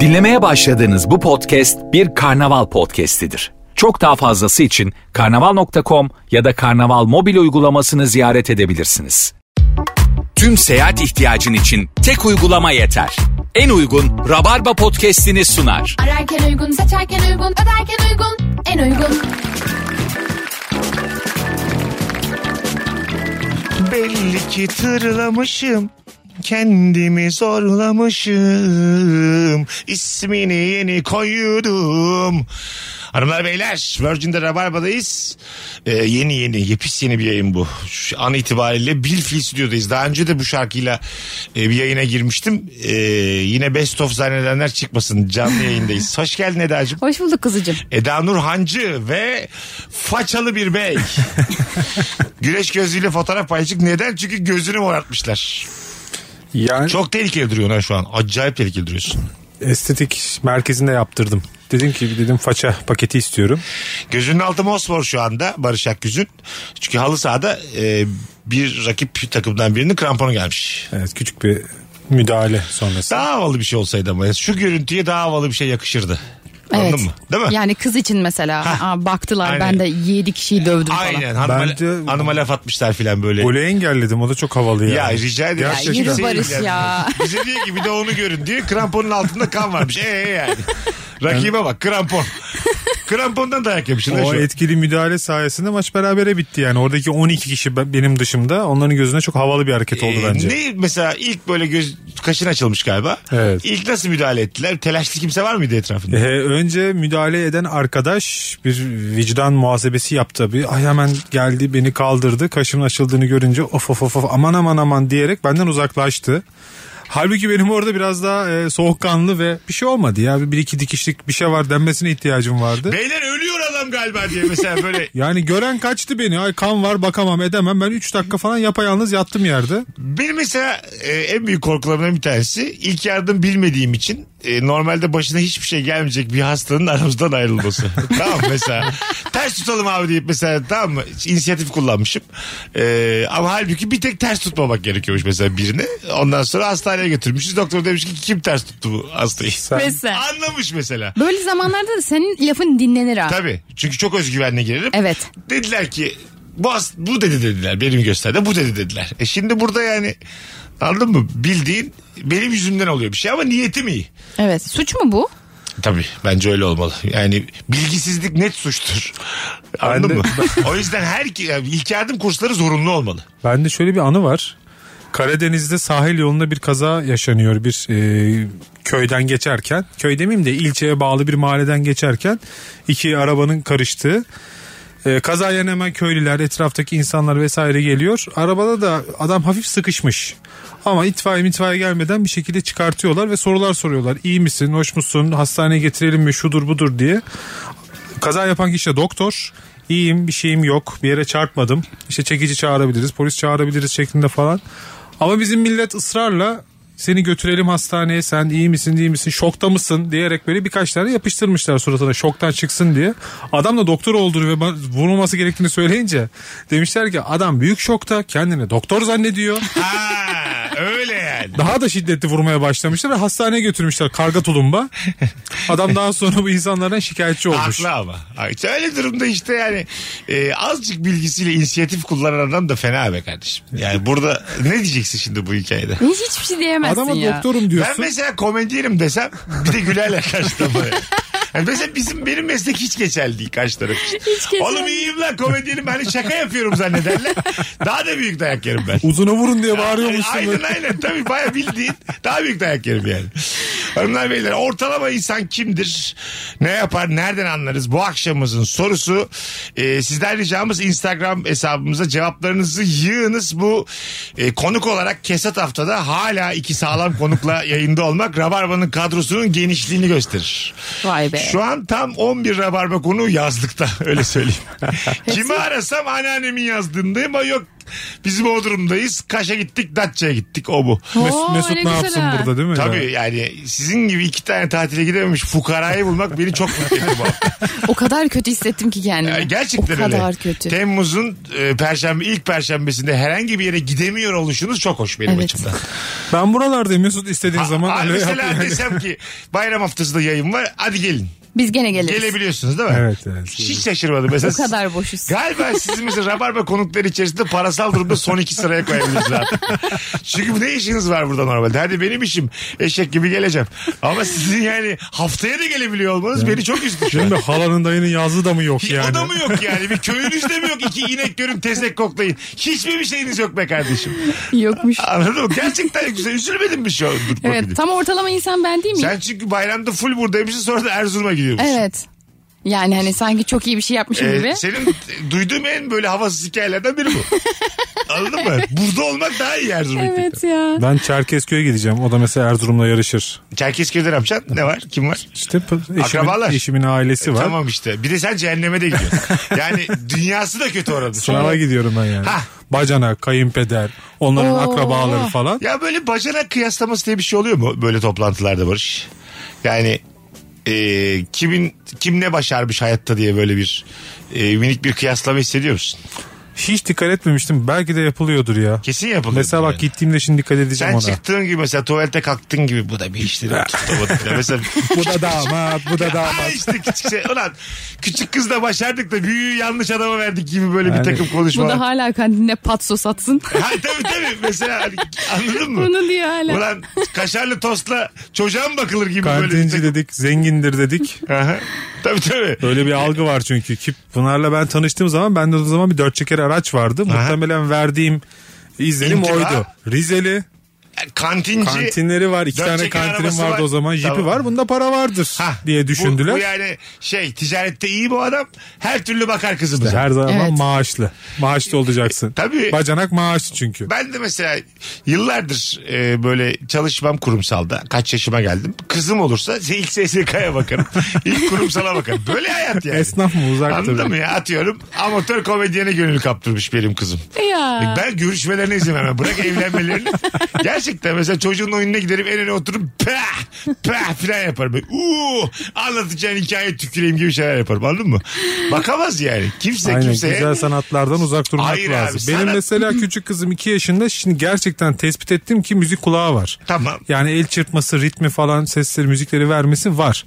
Dinlemeye başladığınız bu podcast bir karnaval podcastidir. Çok daha fazlası için karnaval.com ya da karnaval mobil uygulamasını ziyaret edebilirsiniz. Tüm seyahat ihtiyacın için tek uygulama yeter. En uygun Rabarba podcast'ini sunar. Ararken uygun, seçerken uygun, öderken uygun, en uygun. Belli ki tırlamışım Kendimi zorlamışım İsmini yeni koydum Hanımlar beyler Virgin'de Rabarba'dayız Ee, Yeni yeni yepis yeni bir yayın bu Şu an itibariyle Bilfil Stüdyo'dayız Daha önce de bu şarkıyla e, bir yayına girmiştim Ee, Yine best of zannedenler çıkmasın Canlı yayındayız Hoş geldin Eda'cığım Hoş bulduk kızıcığım. Eda Nur Hancı ve façalı bir bey. Güneş gözlüğüyle fotoğraf paylaştık. Neden? Çünkü gözünü morartmışlar. Yani Çok tehlikeli duruyorsun ha şu an. Acayip tehlikeli duruyorsun. estetik merkezinde yaptırdım. Dedim ki dedim faça paketi istiyorum. Gözünün altı mosmor şu anda Barış Akgüz'ün. Çünkü halı sahada e, bir rakip takımdan birinin kramponu gelmiş. Evet küçük bir müdahale sonrası. Daha havalı bir şey olsaydı ama. Şu görüntüye daha havalı bir şey yakışırdı. Evet. Anladın mı? Değil mi? Yani kız için mesela aa, baktılar Aynen. ben de 7 kişiyi dövdüm falan. Aynen. Hanıma, Bence- hanıma laf atmışlar filan böyle. Golü engelledim o da çok havalı ya. Ya rica ederim. Gerçekten. Ya yürü Kimseyi Barış ya. ilgilendirmez. Bize diyor ki bir de onu görün diyor. Kramponun altında kan varmış. Ee yani. Rakibe bak krampon. Krampondan dayak yemişsin. lan O şu an. etkili müdahale sayesinde maç berabere bitti yani. Oradaki 12 kişi be- benim dışımda onların gözüne çok havalı bir hareket oldu Ee, bence. Ne mesela ilk böyle göz kaşın açılmış galiba. Evet. İlk nasıl müdahale ettiler? Telaşlı kimse var mıydı etrafında? Ee, önce müdahale eden arkadaş bir vicdan muhasebesi yaptı tabii. Ay hemen geldi beni kaldırdı. Kaşımın açıldığını görünce of of of of, aman aman aman diyerek benden uzaklaştı. Halbuki benim orada biraz daha e, soğukkanlı ve bir şey olmadı ya. Bir iki dikişlik bir şey var denmesine ihtiyacım vardı. Beyler ölüyor adam galiba diye mesela böyle Yani gören kaçtı beni. Ay kan var bakamam edemem. Ben 3 dakika falan yapayalnız yattım yerde. Benim mesela e, en büyük korkularımdan bir tanesi ilk yardım bilmediğim için e, normalde başına hiçbir şey gelmeyecek bir hastanın aramızdan ayrılması. tamam mı? mesela ters tutalım abi deyip mesela tamam mı inisiyatif kullanmışım. E, ama halbuki bir tek ters tutmamak gerekiyormuş mesela birini. Ondan sonra hastaneye götürmüşüz. Doktor demiş ki kim ters tuttu bu hastayı? Sen- Mesela. Anlamış mesela. Böyle zamanlarda da senin lafın dinlenir ha. Tabii. Çünkü çok özgüvenle girerim. Evet. Dediler ki bu, as- bu dedi dediler. Benim gösterdi bu dedi dediler. E şimdi burada yani anladın mı? Bildiğin benim yüzümden oluyor bir şey ama niyetim iyi. Evet. Suç mu bu? Tabii bence öyle olmalı. Yani bilgisizlik net suçtur. Anladın Ben de- mı? o yüzden her ki- yani ilk yardım kursları zorunlu olmalı. Bende şöyle bir anı var. Karadeniz'de sahil yolunda bir kaza yaşanıyor bir e, köyden geçerken. Köy demeyeyim de ilçeye bağlı bir mahalleden geçerken iki arabanın karıştığı. E, kaza yerine hemen köylüler, etraftaki insanlar vesaire geliyor. Arabada da adam hafif sıkışmış. Ama itfaiye itfaiye gelmeden bir şekilde çıkartıyorlar ve sorular soruyorlar. İyi misin, hoş musun, hastaneye getirelim mi, şudur budur diye. Kaza yapan kişi de doktor. İyiyim bir şeyim yok bir yere çarpmadım. İşte çekici çağırabiliriz polis çağırabiliriz şeklinde falan. Ama bizim millet ısrarla seni götürelim hastaneye sen iyi misin değil misin şokta mısın diyerek böyle birkaç tane yapıştırmışlar suratına şoktan çıksın diye. Adam da doktor olduğunu ve ba- vurulması gerektiğini söyleyince demişler ki adam büyük şokta kendini doktor zannediyor. Ha, öyle yani. Daha da şiddetli vurmaya başlamışlar ve hastaneye götürmüşler karga tulumba. Adam daha sonra bu insanlardan şikayetçi olmuş. Haklı ama. Ay, Öyle durumda işte yani e, azıcık bilgisiyle inisiyatif kullanan adam da fena be kardeşim. Yani burada ne diyeceksin şimdi bu hikayede? Hiç hiçbir şey diyemezsin Adama ya. doktorum Ben diyorsun. mesela komedyenim desem bir de gülerler karşıma. Yani mesela bizim benim meslek hiç geçerli değil karşı taraf için. geçerli Oğlum iyiyim lan komedyenim hani şaka yapıyorum zannederler. Daha da büyük dayak yerim ben. Uzuna vurun diye bağırıyormuşsun. Aynen böyle. aynen tabii baya bildiğin daha büyük dayak yerim yani. Hanımlar beyler ortalama insan kimdir? Ne yapar? Nereden anlarız? Bu akşamımızın sorusu e, sizden ricamız Instagram hesabımıza cevaplarınızı yığınız. Bu e, konuk olarak kesat haftada hala iki sağlam konukla yayında olmak Rabarba'nın kadrosunun genişliğini gösterir. Vay be. Şu an tam 11 rabarba konuğu yazlıkta öyle söyleyeyim. Kimi arasam anneannemin yazdığındayım ama yok Biz Bodrum'dayız. Kaş'a gittik, Datça'ya gittik. O bu. Mes- Oo, Mesut ne, güzel yapsın ha. burada değil mi? Tabii Ya? yani sizin gibi iki tane tatile gidememiş fukarayı bulmak beni çok mutlu etti bu hafta. O kadar kötü hissettim ki kendimi. Ya Gerçekten O kadar öyle. kötü. Temmuz'un e, perşembe ilk perşembesinde herhangi bir yere gidemiyor oluşunuz çok hoş benim Evet. açımdan. Ben buralardayım Mesut istediğin zaman. Aa, öyle yap mesela yani. desem ki bayram haftası da yayın var. Hadi gelin. Biz gene geliriz. Gelebiliyorsunuz değil mi? Evet, evet. Hiç şaşırmadım mesela. O kadar boşuz. Galiba sizin mesela Rabarba konukları içerisinde parasal durumda son iki sıraya koyabiliriz artık. Çünkü ne işiniz var burada normalde? Hadi benim işim eşek gibi geleceğim. Ama sizin yani haftaya da gelebiliyor olmanız beni çok üzdü şu an. Şimdi halanın dayının yazdığı da mı yok Hiç yani? o da mı yok yani? Bir köyünüzde mi yok? İki inek görün tezek koklayın. Hiçbir bir şeyiniz yok be kardeşim. Yokmuş. Anladın mı? Gerçekten güzel. Üzülmedin mi şu an? Dur, bakayım. Evet tam ortalama insan ben değil miyim? Sen çünkü bayramda full buradaymışsın sonra da Erzurum'a gidiyormuşsun. Evet. Yani hani sanki çok iyi bir şey yapmışım Ee, gibi. senin duyduğum en böyle havasız hikayelerden biri bu. Anladın mı? Burada olmak daha iyi Erzurum'a evet. Evet ya. Ben Çerkezköy'e gideceğim. O da mesela Erzurum'la yarışır. Çerkezköy'de ne yapacaksın? Ne var? Kim var? İşte p- eşimin, Akrabalar. E, eşimin ailesi var. Tamam işte. Bir de sen cehenneme de gidiyorsun. yani dünyası da kötü orada. Sınava gidiyorum ben yani. Hah. Bacana, kayınpeder, onların Oo. akrabaları falan. Ya böyle bacanak kıyaslaması diye bir şey oluyor mu böyle toplantılarda Barış? Yani e, kimin kim ne başarmış hayatta diye böyle bir e, minik bir kıyaslama hissediyor musun? Hiç dikkat etmemiştim. Belki de yapılıyordur ya. Kesin yapılıyor. Mesela bak gittiğimde şimdi dikkat edeceğim sen ona. çıktığın gibi mesela tuvalete kalktın gibi bu da bir iştir. mesela Bu da damat, bu da Aa damat. işte küçük şey. Ulan küçük kız da başardık da büyüğü yanlış adama verdik gibi böyle bir Yani- takım Bu da konuşmalar. hala kantinde patso satsın. Ha, tabii tabii mesela hani anladın mı? Bunu diyor hala. Ulan kaşarlı tostla çocuğa mı bakılır gibi böyle bir Kantinci takım. dedik, zengindir dedik. Aha. Tabii tabii. Öyle bir algı var çünkü. Ki Pınar'la ben tanıştığım zaman bende o zaman bir dört çeker araç vardı. Muhtemelen verdiğim izlenim İntiba. oydu. Rizeli, E, Kantinci. kantinleri var. iki Dört tane çeker kantinim arabası vardı var. o zaman. Jipi Tamam. var, bunda para vardır Ha, diye bu- düşündüler. Bu, yani şey ticarette iyi bu adam. Her türlü bakar kızımıza. Her zaman Evet. maaşlı. Maaşlı olacaksın. E, Tabii. Bacanak maaşlı çünkü. Ben de mesela yıllardır e, böyle çalışmam kurumsalda. Kaç yaşıma geldim. Kızım olursa ilk SSK'ya bakarım. ilk kurumsala bakarım. Böyle hayat yani. Esnaf mı uzak Anladın tabii. mı ya? Atıyorum amatör komedyene gönül kaptırmış benim kızım. E, Ya. Ben görüşmelerine izin vermem. Bırak evlenmelerini. Gerçekten mesela çocuğun oyununa giderim en öne otururum. Pah! Pah! filan yaparım. Böyle, Uuu! Anlatacağın hikaye tüküreyim gibi şeyler yaparım. Anladın mı? Bakamaz yani. Kimse Aynen kimseye. güzel sanatlardan uzak durmak Hayır abi, lazım. Benim sanat- mesela küçük kızım 2 yaşında şimdi gerçekten tespit ettim ki müzik kulağı var. Tamam. Yani el çırpması, ritmi falan sesleri, müzikleri vermesi var.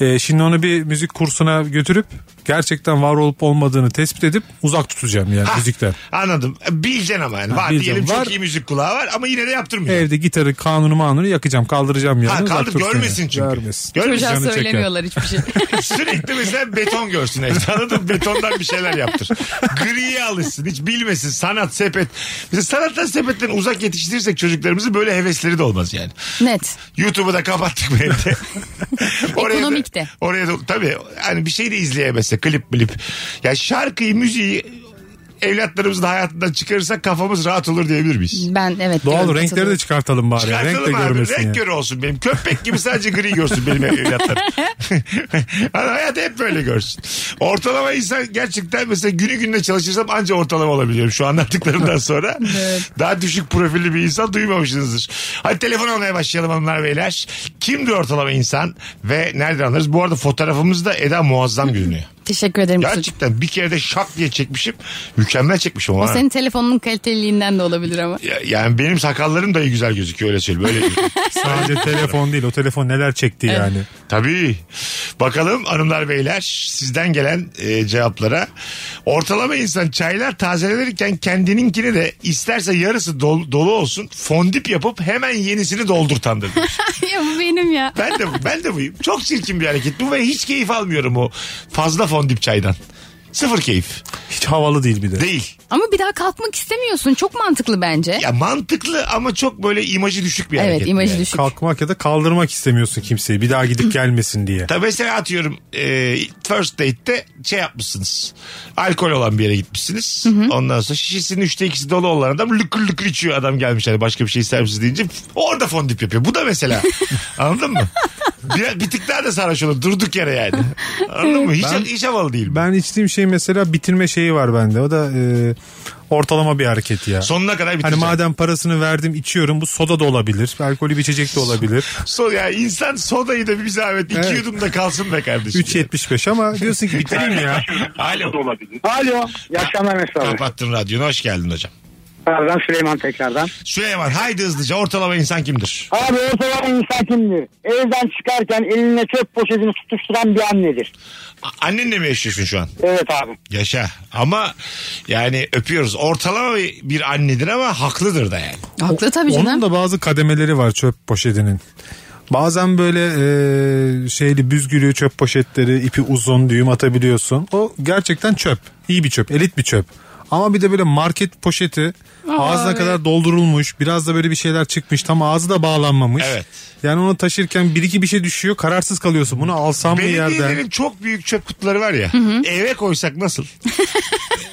Ee, şimdi onu bir müzik kursuna götürüp gerçekten var olup olmadığını tespit edip uzak tutacağım yani Ha, müzikten. Anladım. Bileceksin ama yani. Var bileceğim. diyelim Var. çok iyi müzik kulağı var ama yine de yaptırmıyor. Evde gitarı, kanunu manunu yakacağım, kaldıracağım yani. Ha uzak kaldır dursun görmesin yani. çünkü. Görmesin. Görmesin. Çocuğa canı çeker. söylemiyorlar hiçbir şey. Sürekli mesela beton görsün evde. Anladın mı? Betondan bir şeyler yaptır. Griye alışsın. Hiç bilmesin. Sanat, sepet. Mesela sanattan sepetten uzak yetiştirirsek çocuklarımızı böyle hevesleri de olmaz yani. Net. YouTube'u da kapattık bu evde. Ekonomik da, de. Oraya da tabii hani bir şey de izleyemezse klip bilip. Ya şarkıyı müziği evlatlarımızın hayatından çıkarırsak kafamız rahat olur diyebilir miyiz? Ben evet. Doğal diyorum, renkleri de katılıyorum. çıkartalım bari. ya. Renk de Çıkartalım abi. görmesin Renk yani. körü olsun benim. Köpek gibi sadece gri görsün benim evlatlarım. Hani hayatı hep böyle görsün. Ortalama insan gerçekten mesela günü gününe çalışırsam anca ortalama olabiliyorum şu anlattıklarımdan sonra. Daha düşük profilli bir insan duymamışsınızdır. Hadi telefon almaya başlayalım hanımlar beyler. Kimdir ortalama insan ve nereden anlarız? Bu arada fotoğrafımızda Eda muazzam görünüyor. Teşekkür ederim Mesut'cum. Gerçekten bir kere de şak diye çekmişim. Mükemmel çekmişim. O ama. senin telefonunun kaliteliliğinden de olabilir ama. Ya- Yani benim sakallarım dahi güzel gözüküyor öyle söyleyeyim. Böyle Sadece telefon değil o telefon neler çekti yani. Tabii. Bakalım hanımlar beyler sizden gelen e, cevaplara. Ortalama insan çaylar tazelenirken kendininkini de isterse yarısı dol- dolu olsun fondip yapıp hemen yenisini doldurtandır. demiş. ya bu benim ya. ben de ben de buyum. Çok çirkin bir hareket bu ve hiç keyif almıyorum o fazla fondip çaydan. Sıfır keyif. Hiç havalı değil bir de. Değil. Ama bir daha kalkmak istemiyorsun. Çok mantıklı bence. Ya mantıklı ama çok böyle imajı düşük bir hareket. evet imajı yani. düşük. Kalkmak ya da kaldırmak istemiyorsun kimseyi. Bir daha gidip gelmesin diye. Tabii mesela atıyorum e, first date'te şey yapmışsınız. Alkol olan bir yere gitmişsiniz. Ondan sonra şişesinin üçte ikisi dolu olan adam lıkır lıkır içiyor adam gelmiş. Hani başka bir şey ister misiniz deyince orada fondip yapıyor. Bu da mesela anladın mı? Bir, bir tık daha da sarhoş olur durduk yere yani. Anladın mı? Hiç, hiç havalı değil. bu. Ben içtiğim şey mesela bitirme şeyi var bende. O da e, ortalama bir hareket ya. Sonuna kadar Hani bitecek. madem parasını verdim içiyorum bu soda da olabilir. Alkolü bir içecek de olabilir. So, ya insan sodayı da bir zahmet iki Evet. yudum da kalsın be kardeşim. 3.75 ama diyorsun ki bitireyim ya. Alo. Alo. İyi akşamlar Mesut abi. Kapattın radyonu hoş geldin hocam. Ben Süleyman tekrardan. Süleyman haydi hızlıca ortalama insan kimdir? Abi ortalama insan kimdir? Evden çıkarken eline çöp poşetini tutuşturan bir annedir. A- Annenle mi yaşıyorsun şu an? Evet abi. Yaşa. Ama yani öpüyoruz. Ortalama bir- bir annedir ama haklıdır da yani. Haklı tabii Onun canım. da bazı kademeleri var çöp poşetinin. Bazen böyle e, şeyli büzgülü çöp poşetleri ipi uzun düğüm atabiliyorsun. O gerçekten çöp. İyi bir çöp. Elit bir çöp. Ama bir de böyle market poşeti ağzına kadar doldurulmuş. Biraz da böyle bir şeyler çıkmış. Tam ağzı da bağlanmamış. Evet. Yani onu taşırken bir iki bir şey düşüyor. Kararsız kalıyorsun. Bunu alsam mı yerden? Belediyelerin çok büyük çöp kutuları var ya. Eve koysak nasıl?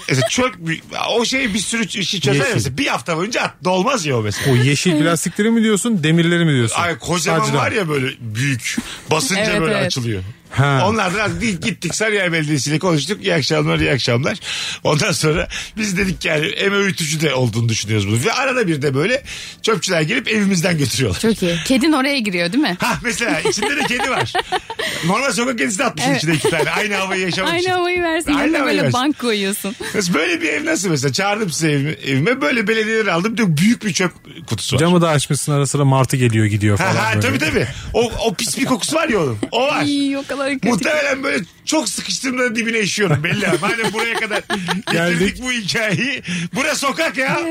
Mesela çok büyük. O şey bir sürü işi çözer ya Yeşil. mesela. Bir hafta boyunca at, dolmaz ya o mesela. O yeşil plastikleri mi diyorsun demirleri mi diyorsun? Ay kocaman Sadece- var ya böyle büyük. Basınca Evet, böyle evet. açılıyor. Ha. Onlardan az değil gittik Sarıyer Belediyesi'yle konuştuk. İyi akşamlar iyi akşamlar. Ondan sonra biz dedik ki yani em öğütücü de olduğunu düşünüyoruz bunu. Ve arada bir de böyle çöpçüler gelip evimizden götürüyorlar. Çok iyi. Kedin oraya giriyor değil mi? Ha mesela içinde de kedi var. Normal sokak kedisi de atmışsın Evet. içine iki tane. Aynı havayı yaşamak için. Aynı havayı versin. Aynı Yanına havayı böyle versin. bank koyuyorsun. Kız böyle bir ev nasıl mesela? Çağırdım size evime, evime. böyle belediyeleri aldım. Diyor, büyük bir çöp kutusu var. Camı da açmışsın ara sıra martı geliyor gidiyor falan. ha, ha, böyle. tabii tabii. O, o pis bir kokusu var ya onun. O var. İyi o kadar kötü. Muhtemelen böyle çok sıkıştığımda dibine işiyorum belli. abi. Madem buraya kadar getirdik Geldik. bu hikayeyi. Burası sokak ya.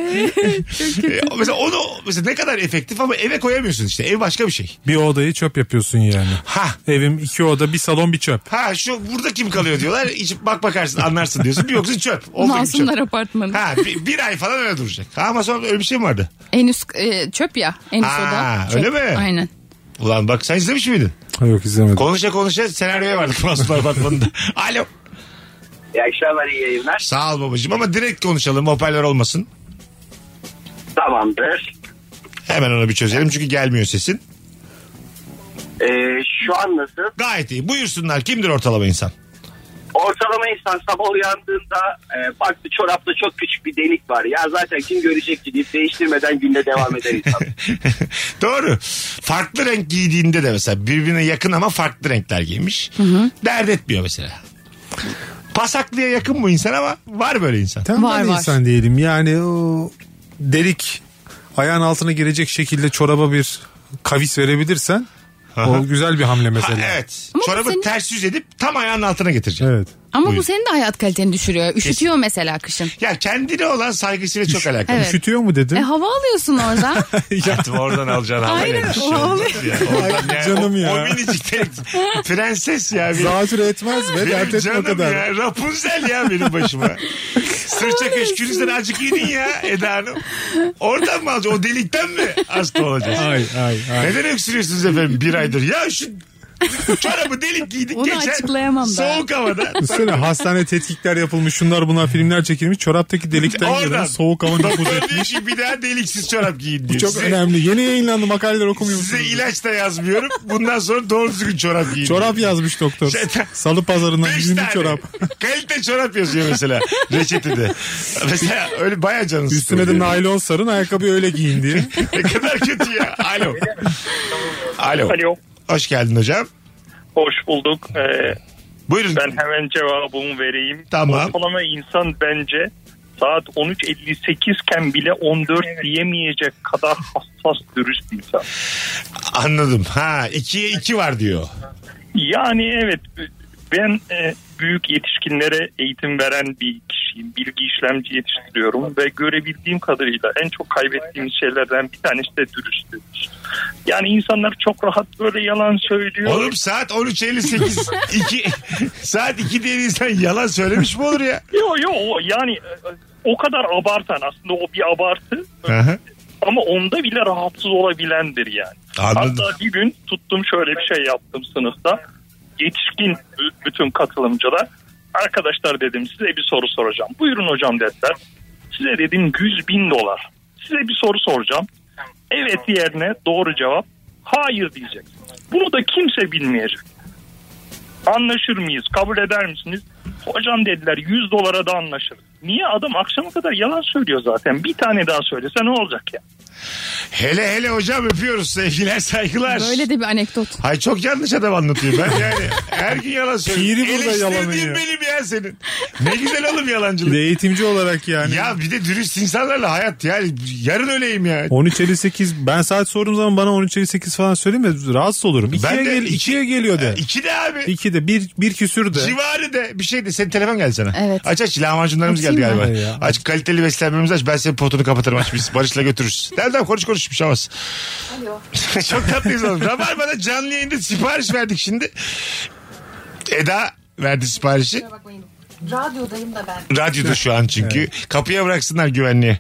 E, mesela onu mesela ne kadar efektif ama eve koyamıyorsun işte. Ev başka bir şey. Bir odayı çöp yapıyorsun yani. Ha. Evim iki oda bir salon bir çöp. Ha şu burada kim kalıyor diyorlar. İçip bak bakarsın anlarsın diyorsun. Bir yoksa çöp. Olduğu gibi çöp. Masumlar apartmanı. Ha bir, bir ay falan öyle duracak. Ha ama sonra öyle bir şey mi vardı? En üst e, çöp ya. En üst Aa, oda. Çöp. öyle mi? Aynen. Ulan bak sen izlemiş miydin? Yok izlemedim. Konuşa konuşa senaryoya vardık Masumlar Apartmanı'nda. Alo. İyi akşamlar iyi yayınlar. Sağ ol babacığım ama direkt konuşalım hoparlör olmasın. Tamamdır. Hemen onu bir çözelim çünkü gelmiyor sesin. Ee, şu an nasıl? Gayet iyi. Buyursunlar kimdir ortalama insan? Ortalama insan sabah uyandığında e, baktı çorapta çok küçük bir delik var. Ya zaten kim görecek ki deyip değiştirmeden günde devam eder insan. Doğru. Farklı renk giydiğinde de mesela birbirine yakın ama farklı renkler giymiş. Dert etmiyor mesela. Pasaklıya yakın bu insan ama var böyle insan. Tembel Var, var. insan diyelim yani o delik ayağın altına girecek şekilde çoraba bir kavis verebilirsen o güzel bir hamle Ha, mesela. evet. Ama bu Çorabı senin- ters yüz edip tam ayağının altına getirecek. Evet. Ama Buyur. bu senin de hayat kaliteni düşürüyor. Üşütüyor mesela kışın. Ya kendine olan saygısıyla çok alakalı. Evet. Üşütüyor mu E dedim. hava alıyorsun orada. Hayatım oradan alacağın hava Aynen, neymiş? o hava. Ya, oradan yani Canım o- ya. O, minicik tek- prenses ya. Benim, Zatür etmez ve benim dert etme o canım kadar. ya. Rapunzel ya benim başıma. Sırça köşkünüzden azıcık yedin ya Eda Hanım. Oradan mı alacağız? O delikten mi hasta olacağız? Ay ay ay. Neden öksürüyorsunuz efendim bir aydır? Ya şu çorabı delik giydik Onu geçen. açıklayamam ben. Soğuk havada. Üstüne hastane tetkikler yapılmış şunlar bunlar filmler çekilmiş çoraptaki delikten Oradan. gelen soğuk hava nüfuz Doktor diyor etmiş. ki bir daha deliksiz çorap giyin diyor. Çok Size- önemli. Yeni yayınlandı makaleler okumuyor Size musunuz? ilaç da yazmıyorum. Bundan sonra doğru düzgün çorap giyin. Çorap yazmış doktor. Şeytan. Salı pazarından Beş 20 tane. çorap. Kalite çorap yazıyor mesela reçetede. Mesela öyle baya canı Üstüne de sıkılıyor. naylon sarın ayakkabıyı öyle giyin diye. Ne kadar kötü ya. Alo. Alo. Alo. Hoş geldin hocam. Hoş bulduk. Ee, Buyurun. ben hemen cevabımı vereyim. Tamam. Ortalama insan bence saat 13.58 iken bile 14 diyemeyecek kadar hassas dürüst insan. Anladım. Ha ikiye iki var diyor. Yani evet ben e, büyük yetişkinlere eğitim veren bir kişiyim. Bilgi işlemci yetiştiriyorum ve görebildiğim kadarıyla en çok kaybettiğimiz şeylerden bir tanesi de dürüstlük. Yani insanlar çok rahat böyle yalan söylüyor. Oğlum saat 13.58. iki, saat 2 diyen insan yalan söylemiş mi olur ya? Yo yo o yani e, o kadar abartan aslında o bir abartı Aha, ama onda bile rahatsız olabilendir yani. Anladım. Hatta bir gün tuttum şöyle bir şey yaptım sınıfta. Yetişkin b- bütün katılımcılar. Arkadaşlar dedim size bir soru soracağım. Buyurun hocam dediler. Size dedim 100 bin dolar. Size bir soru soracağım. Evet yerine doğru cevap hayır diyecek. Bunu da kimse bilmeyecek. Anlaşır mıyız? Kabul eder misiniz? Hocam dediler 100 dolara da anlaşırız. Niye adam akşama kadar yalan söylüyor zaten. Bir tane daha söylese ne olacak ya? Hele hele hocam öpüyoruz sevgiler saygılar. Böyle de bir anekdot. Hay çok yanlış adam anlatıyor ben yani. Her gün yalan söylüyorum. Şiiri burada Eleştirdiğin yalanıyor. benim ya senin. Ne güzel oğlum Bir de yalancılık. eğitimci olarak yani. Ya bir de dürüst insanlarla hayat yani yarın öleyim ya. 13 50 8 ben saat sorduğum zaman bana 13 50 8 falan söyleme rahatsız olurum. Ben 2'ye de gel, iki- ikiye geliyor de. İki de abi. 2 de 1 1 küsür de. Civarı de bir şey de senin telefon geldi sana. Evet. Aç aç lahmacunlarımız geldi Açayım galiba. ben. Ya. Aç kaliteli beslenmemizi aç ben senin potunu kapatırım aç biz Barış'la götürürüz. Nereden konuş konuş bir şey olmaz. Çok tatlıyız oğlum. Rabarba'da canlı yayında sipariş verdik şimdi. Eda verdi siparişi. Radyodayım da ben. Radyoda şu an çünkü. Kapıya bıraksınlar güvenliği.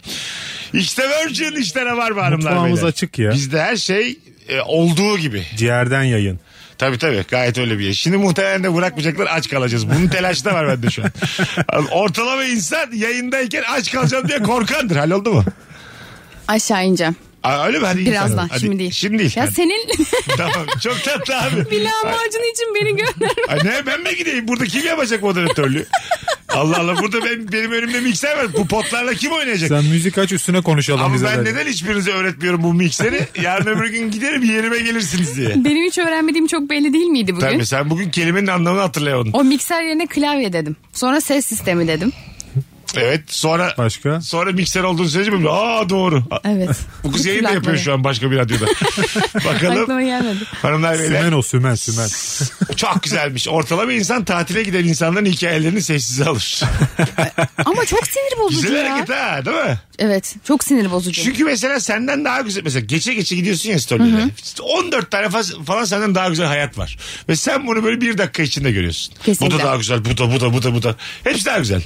İşte Virgin işte Rabarba hanımlar. Mutfağımız beyler. açık ya. Bizde her şey e, olduğu gibi. Ciğerden yayın. Tabii tabii gayet öyle bir yer. Şimdi muhtemelen de bırakmayacaklar aç kalacağız. Bunun telaşı da var bende şu an. Ortalama insan yayındayken aç kalacağım diye korkandır. Halloldu mu? Aşağı ineceğim. Aa, öyle mi? Hadi Birazdan. insan. Hadi. Şimdi değil. Şimdi değil. Ya Hadi. senin Tamam çok tatlı abi. bir lahmacun için beni gönder. Ay ne ben mi gideyim? Burada kim yapacak moderatörlüğü? Allah Allah burada benim, benim önümde mikser var. Bu potlarla kim oynayacak? Sen müzik aç üstüne konuşalım Ama biz ben herhalde. neden hiçbirinize öğretmiyorum bu mikseri? Yarın öbür gün giderim yerime gelirsiniz diye. Benim hiç öğrenmediğim çok belli değil miydi bugün? Tabii sen bugün kelimenin anlamını hatırlayamadın. O mikser yerine klavye dedim. Sonra ses sistemi dedim. Evet sonra Başka? sonra mikser olduğunu söyleyince böyle aa doğru. Evet. Bu kız yayın da Kulakları. yapıyor şu an başka bir radyoda. Bakalım Aklıma gelmedi. hanımlar beyler Sümen o sümen sümen. çok güzelmiş. Ortalama insan tatile giden insanların hikayelerini sessize alır. Ama çok sinir bozucu Güzel ya. hareket ha değil mi? Evet çok sinir bozucu. Çünkü mesela senden daha güzel mesela geçe geçe gidiyorsun ya storylere. 14 tane fa- falan senden daha güzel hayat var. Ve sen bunu böyle bir dakika içinde görüyorsun. Kesinlikle. Bu da daha güzel, bu da bu da bu da bu da. Hepsi daha güzel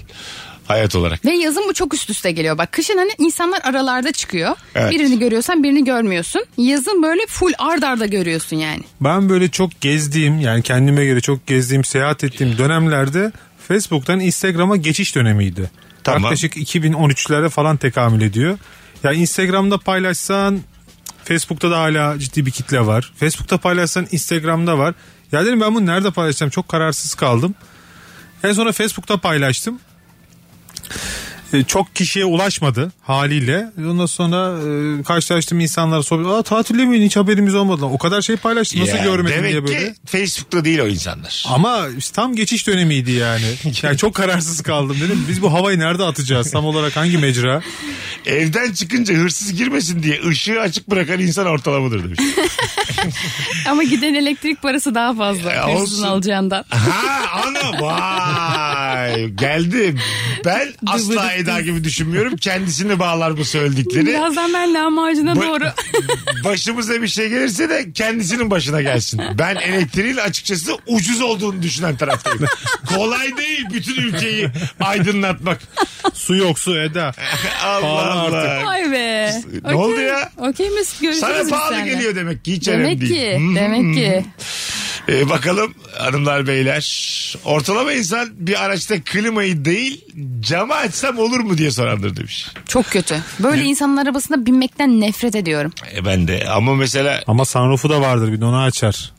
hayat olarak. Ve yazın bu çok üst üste geliyor. Bak kışın hani insanlar aralarda çıkıyor. Evet. Birini görüyorsan birini görmüyorsun. Yazın böyle full ard arda görüyorsun yani. Ben böyle çok gezdiğim yani kendime göre çok gezdiğim seyahat ettiğim dönemlerde Facebook'tan Instagram'a geçiş dönemiydi. Tamam. Yaklaşık 2013'lere falan tekamül ediyor. Yani Instagram'da paylaşsan Facebook'ta da hala ciddi bir kitle var. Facebook'ta paylaşsan Instagram'da var. Ya dedim ben bunu nerede paylaşacağım çok kararsız kaldım. En sonra Facebook'ta paylaştım. E, Çok kişiye ulaşmadı haliyle. Ondan sonra e, karşılaştığım insanlara sohbet. Aa tatilde miydin hiç haberimiz olmadı. lan." O kadar şey paylaştı nasıl Ya, görmedim demek diye böyle. ki Facebook'ta değil o insanlar. Ama işte tam geçiş dönemiydi yani. Yani çok kararsız kaldım dedim. Biz bu havayı nerede atacağız? Tam olarak hangi mecra? Evden çıkınca hırsız girmesin diye ışığı açık bırakan insan ortalamadır demiş. Ama giden elektrik parası daha fazla. Ya Hırsızın olsun. alacağından. Ha ana vay geldim. Ben asla Eda gibi düşünmüyorum. Kendisini bağlar bu söyledikleri. Birazdan ben lahmacuna Ba- doğru. Başımıza bir şey gelirse de kendisinin başına gelsin. Ben elektriğin açıkçası ucuz olduğunu düşünen taraftayım. Kolay değil bütün ülkeyi aydınlatmak. Su yok su Eda. Allah Pahalı Allah. Ay be. Ne oldu ya? Okey mis görüşürüz Sana biz pahalı seninle. geliyor demek ki hiç Demek önemli değil. ki, Hmm. demek ki. Ee, bakalım hanımlar beyler. Ortalama insan bir araçta klimayı değil camı açsam olur mu diye sorandır demiş. Çok kötü. Böyle insanın arabasına binmekten nefret ediyorum. E ben de ama mesela Ama sunroofu da vardır bir de onu açar.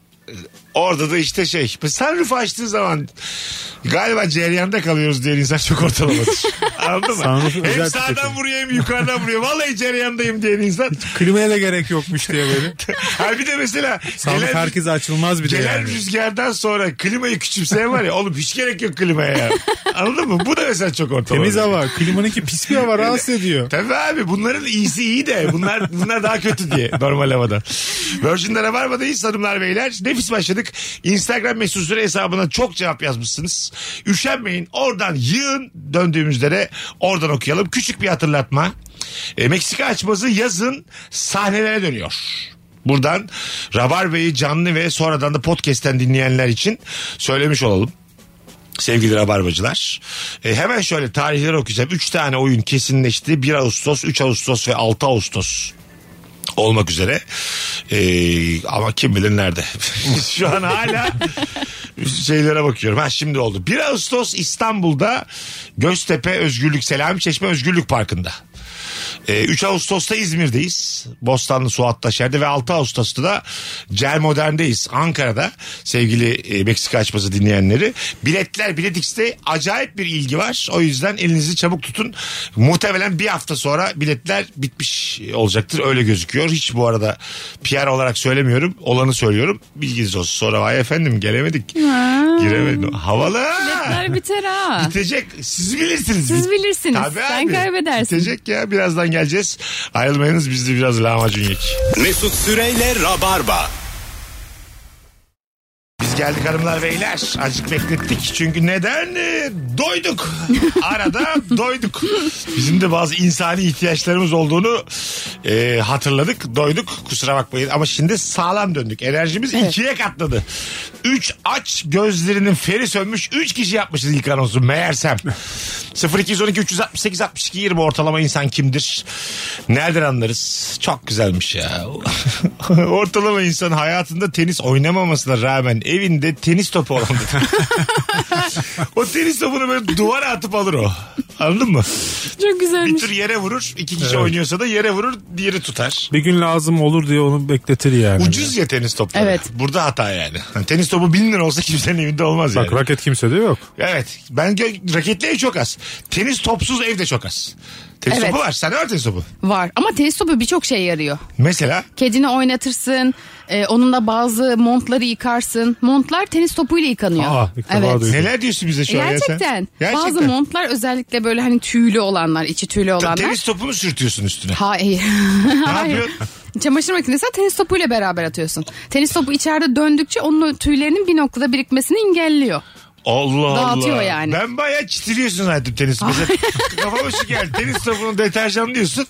orada da işte şey sunroof açtığı zaman galiba ceryanda kalıyoruz diyen insan çok ortalamadır. Anladın mı? Sunroof hem özel sağdan tüketim. vuruyor hem yukarıdan vuruyor. Vallahi ceryandayım diyen insan. Klimaya da gerek yokmuş diye böyle. ha bir de mesela Sunroof gelen- herkese açılmaz bir de Gelen yani. rüzgardan sonra klimayı küçümseyen var ya oğlum hiç gerek yok klimaya ya. Anladın mı? Bu da mesela çok ortalama. Temiz hava. Klimanınki pis bir hava rahatsız ediyor. Tabii abi bunların iyisi iyi de bunlar bunlar daha kötü diye normal havada. Virgin'de Rabarba'dayız hanımlar beyler. Nefis başladık. Instagram mesut süre hesabına çok cevap yazmışsınız. Üşenmeyin oradan yığın döndüğümüzde de oradan okuyalım. Küçük bir hatırlatma. E, Meksika açması yazın sahnelere dönüyor. Buradan Rabarba'yı canlı ve sonradan da podcast'ten dinleyenler için söylemiş olalım. Sevgili Rabarbacılar. E, hemen şöyle tarihleri okuyacağım. 3 tane oyun kesinleşti. 1 Ağustos, 3 Ağustos ve 6 Ağustos olmak üzere. E, ama kim bilir nerede. Şu an né? hala şeylere bakıyorum. Ha şimdi oldu. 1 Ağustos İstanbul'da Göztepe Özgürlük Selami Çeşme Özgürlük Parkı'nda. Ee, 3 Ağustos'ta İzmir'deyiz. Bostanlı Suat Taşer'de ve 6 Ağustos'ta da Cel Modern'deyiz. Ankara'da sevgili e, Meksika açması dinleyenleri. Biletler Bilet X'te acayip bir ilgi var. O yüzden elinizi çabuk tutun. Muhtemelen bir hafta sonra biletler bitmiş olacaktır. Öyle gözüküyor. Hiç bu arada PR olarak söylemiyorum. Olanı söylüyorum. Bilginiz olsun. Sonra vay efendim gelemedik. Giremedim. Havalı. Biletler biter ha. Bitecek. Siz bilirsiniz. Siz bilirsiniz. Tabii Sen abi. kaybedersin. Bitecek ya. Birazdan geleceğiz. Ayrılmayınız. Biz de biraz lahmacun yek. Mesut Süreyle Rabarba. Biz geldik hanımlar beyler. Azıcık beklettik. Çünkü neden? Ee, Doyduk. Arada doyduk. Bizim de bazı insani ihtiyaçlarımız olduğunu e, hatırladık. Doyduk. Kusura bakmayın. Ama şimdi sağlam döndük. Enerjimiz ikiye katladı. Üç aç gözlerinin feri sönmüş. Üç kişi yapmışız ilk anonsu meğersem. 0212 368 62 20 ortalama insan kimdir? Nereden anlarız? Çok güzelmiş ya. ortalama insan hayatında tenis oynamamasına rağmen evinde tenis topu olan dedi. o tenis topunu böyle duvara atıp alır o. Anladın mı? Çok Bir güzelmiş. tür yere vurur. iki kişi oynuyorsa da yere vurur. Diğeri tutar. Bir gün lazım olur diye onu bekletir yani. Ucuz ya tenis topları. Evet. Burada hata yani. Hani tenis topu bin lira olsa kimsenin evinde olmaz yani. Bak raket kimsede yok. Evet. Ben gö- raketli ev çok az. Tenis topsuz ev de çok az. Tenis Evet. topu var. Sen var tenis topu. Var ama tenis topu birçok şey yarıyor. Mesela Kedini oynatırsın. e, onunla bazı montları yıkarsın. Montlar tenis topuyla yıkanıyor. Aa, ilk defa duydum. neler diyorsun bize şu an ya sen? Gerçekten. Gerçekten. Bazı montlar özellikle böyle hani tüylü olanlar, içi tüylü Ta- olanlar. Tenis topunu sürtüyorsun üstüne. Hayır. Ne Hayır. yapıyorsun? Çamaşır makinesine tenis topuyla beraber atıyorsun. Tenis topu içeride döndükçe onun o tüylerinin bir noktada birikmesini engelliyor. Allah Dağıtıyor Allah. yani. Ben bayağı çitiliyorsun zaten tenis. Mesela kafama şu geldi. Tenis topunu deterjanlıyorsun.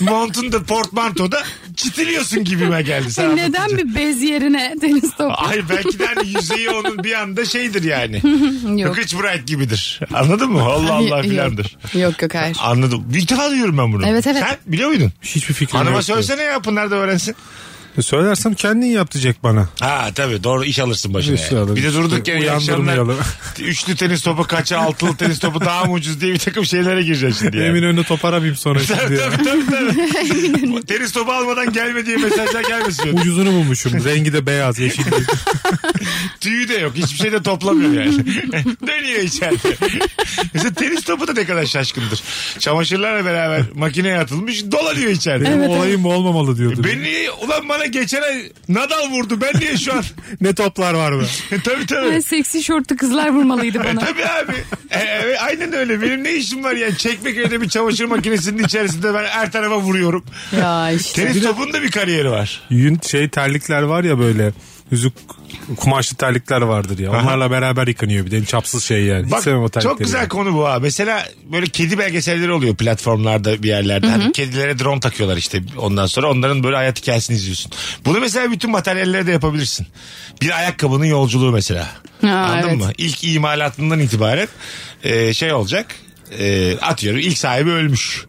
Montun da portmantoda çitiliyorsun gibime geldi. Sen E, Neden anlatınca. bir bez yerine tenis topu? Hayır belki de hani yüzeyi onun bir anda şeydir yani. Yok. Kıkıç bright gibidir. Anladın mı? Allah Allah Yok. filandır. Yok yok hayır. Anladım. Bir defa duyuyorum ben bunu. Evet, evet. Sen biliyor muydun? Hiçbir fikrim Hanıma yok. Hani söylesene ya Pınar da öğrensin. Söylersem kendin yap diyecek bana. Ha tabii doğru iş alırsın başına. İş yani. alırım. Bir de durduk yere iyi akşamlar Uyandırmayalım. üçlü tenis topu kaça altılı tenis topu daha mı ucuz diye bir takım şeylere gireceksin şimdi yani. Emin önüne toparamayayım sonra Tabii şimdi. ya. tabii tabii. tabii. tenis topu almadan gelme diye mesajlar gelmesin. Ucuzunu bulmuşum. Rengi de beyaz, yeşil. değil. Tüyü de yok. Hiçbir şey de toplamıyor yani. Dönüyor içeride. Mesela tenis topu da ne kadar şaşkındır. Çamaşırlarla beraber makineye atılmış dolanıyor içeride. Benim olayım bu olmamalı diyordu. Ben niye ulan bana geçen ay Nadal vurdu ben niye şu an Ne toplar var be. tabii tabii. Ben seksi şortlu kızlar vurmalıydı E, bana. tabii abi. E, evet, aynen öyle. Benim ne işim var yani? Çekmeköy'de bir çamaşır makinesinin içerisinde ben her tarafa vuruyorum. ya işte. Tenis topunun da bir kariyeri var. Yün şey terlikler var ya böyle. Yüzük kumaşlı terlikler vardır ya. Onlarla beraber yıkanıyor bir de. Çapsız şey yani. Hiç Bak sevmem o terlikleri. çok güzel konu bu ha. Mesela böyle kedi belgeselleri oluyor platformlarda bir yerlerde. Hani kedilere drone takıyorlar işte ondan sonra onların böyle hayat hikayesini izliyorsun. Bunu mesela bütün materyallere de yapabilirsin. Bir ayakkabının yolculuğu mesela. Ha, Anladın evet. mı? İlk imalatından itibaren e, şey olacak. E, atıyorum ilk sahibi ölmüş.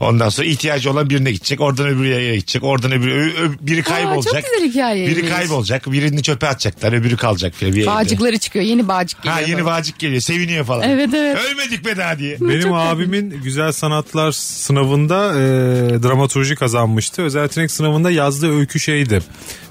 Ondan sonra ihtiyacı olan birine gidecek. Oradan öbürü yere gidecek. Oradan öbürü ö- ö- biri kaybolacak. çok güzel hikayeymiş. Biri kaybolacak. Birini çöpe atacaklar. Öbürü kalacak. filan Bir evde. Bağcıkları çıkıyor. Yeni bağcık geliyor. Ha yeni bana. vacik geliyor. Seviniyor falan. Evet, evet. Ölmedik be daha diye. Benim abimin güzel sanatlar sınavında e, dramaturji kazanmıştı. Özel yetenek sınavında yazdığı öykü şeydi.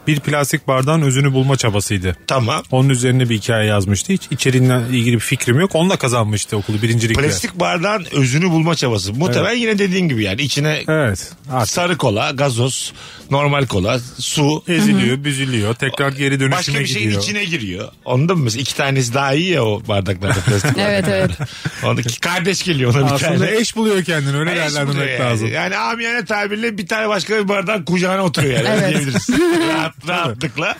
Bir plastik bardağın özünü bulma çabasıydı. Tamam. Onun üzerine bir hikaye yazmıştı. Hiç içeriğinle ilgili bir fikrim yok. Onunla kazanmıştı okulu birincilikle. Plastik bardağın özünü bulma çabası. Muhtemelen yine dediğin gibi yani. içine Evet. Artık sarı kola, gazoz, normal kola, su. eziliyor, büzülüyor. Tekrar geri dönüşüme Başka bir şeyin gidiyor. içine giriyor. Onda mı mesela? iki tanesi daha iyi ya o bardaklarda plastik Evet, bardaklarda. Ondaki kardeş geliyor ona bir Aslında tane. eş buluyor kendini öyle Eş buluyor yani. değerlendirmek lazım. Yani amiyane tabirle bir tane başka bir bardağın kucağına oturuyor yani. Evet. Diyebiliriz. Rahat, rahatlıkla.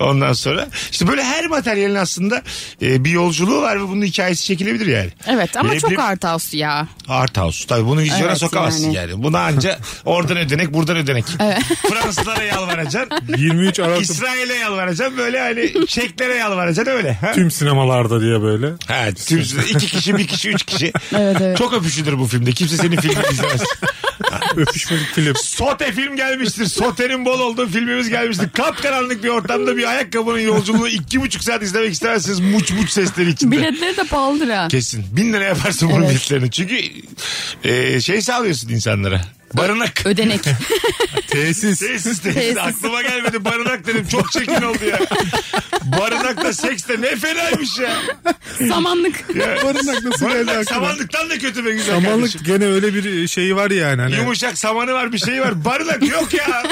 Ondan sonra işte böyle her materyalin aslında e, bir yolculuğu var ve bunun hikayesi çekilebilir yani. Evet ama çok Leblebi- art house ya. Art house. Tabii bunu vizyona Evet, sokamazsın yani. yani. Buna anca oradan ödenek buradan ödenek. Fransızlara yalvaracaksın. 23 Aralık İsrail'e yalvaracaksın. Böyle hani Çeklere yalvaracaksın öyle. Ha? tüm sinemalarda diye böyle. Ha, tüm iki kişi, bir kişi, üç kişi. Evet, evet. Çok öpüşülür bu filmde. Kimse senin filmini izlemez. Öpüşmeli film. Sote film gelmiştir. Sote'nin bol olduğu filmimiz gelmiştir. Kapkaranlık bir ortamda bir ayakkabının yolculuğunu iki buçuk saat izlemek isterseniz muç muç sesleri içinde. Biletleri de pahalıdır ha. Kesin. Bin lira yaparsın bunun Evet. biletlerini. Çünkü e, şey sağlıyorsun insanlara. Barınak. Ödenek. Tesis Tesis. tesis. Tesis. Aklıma gelmedi barınak dedim. Çok çekin oldu ya. Barınakla seks de ne fenaymış ya. Samanlık. Barınak nasıl geldi Barınak aklıma? samanlıktan da kötü be güzel kardeşim. Samanlık gene öyle bir şeyi var yani. Hani Yumuşak samanı var bir şey var. Barınak yok ya.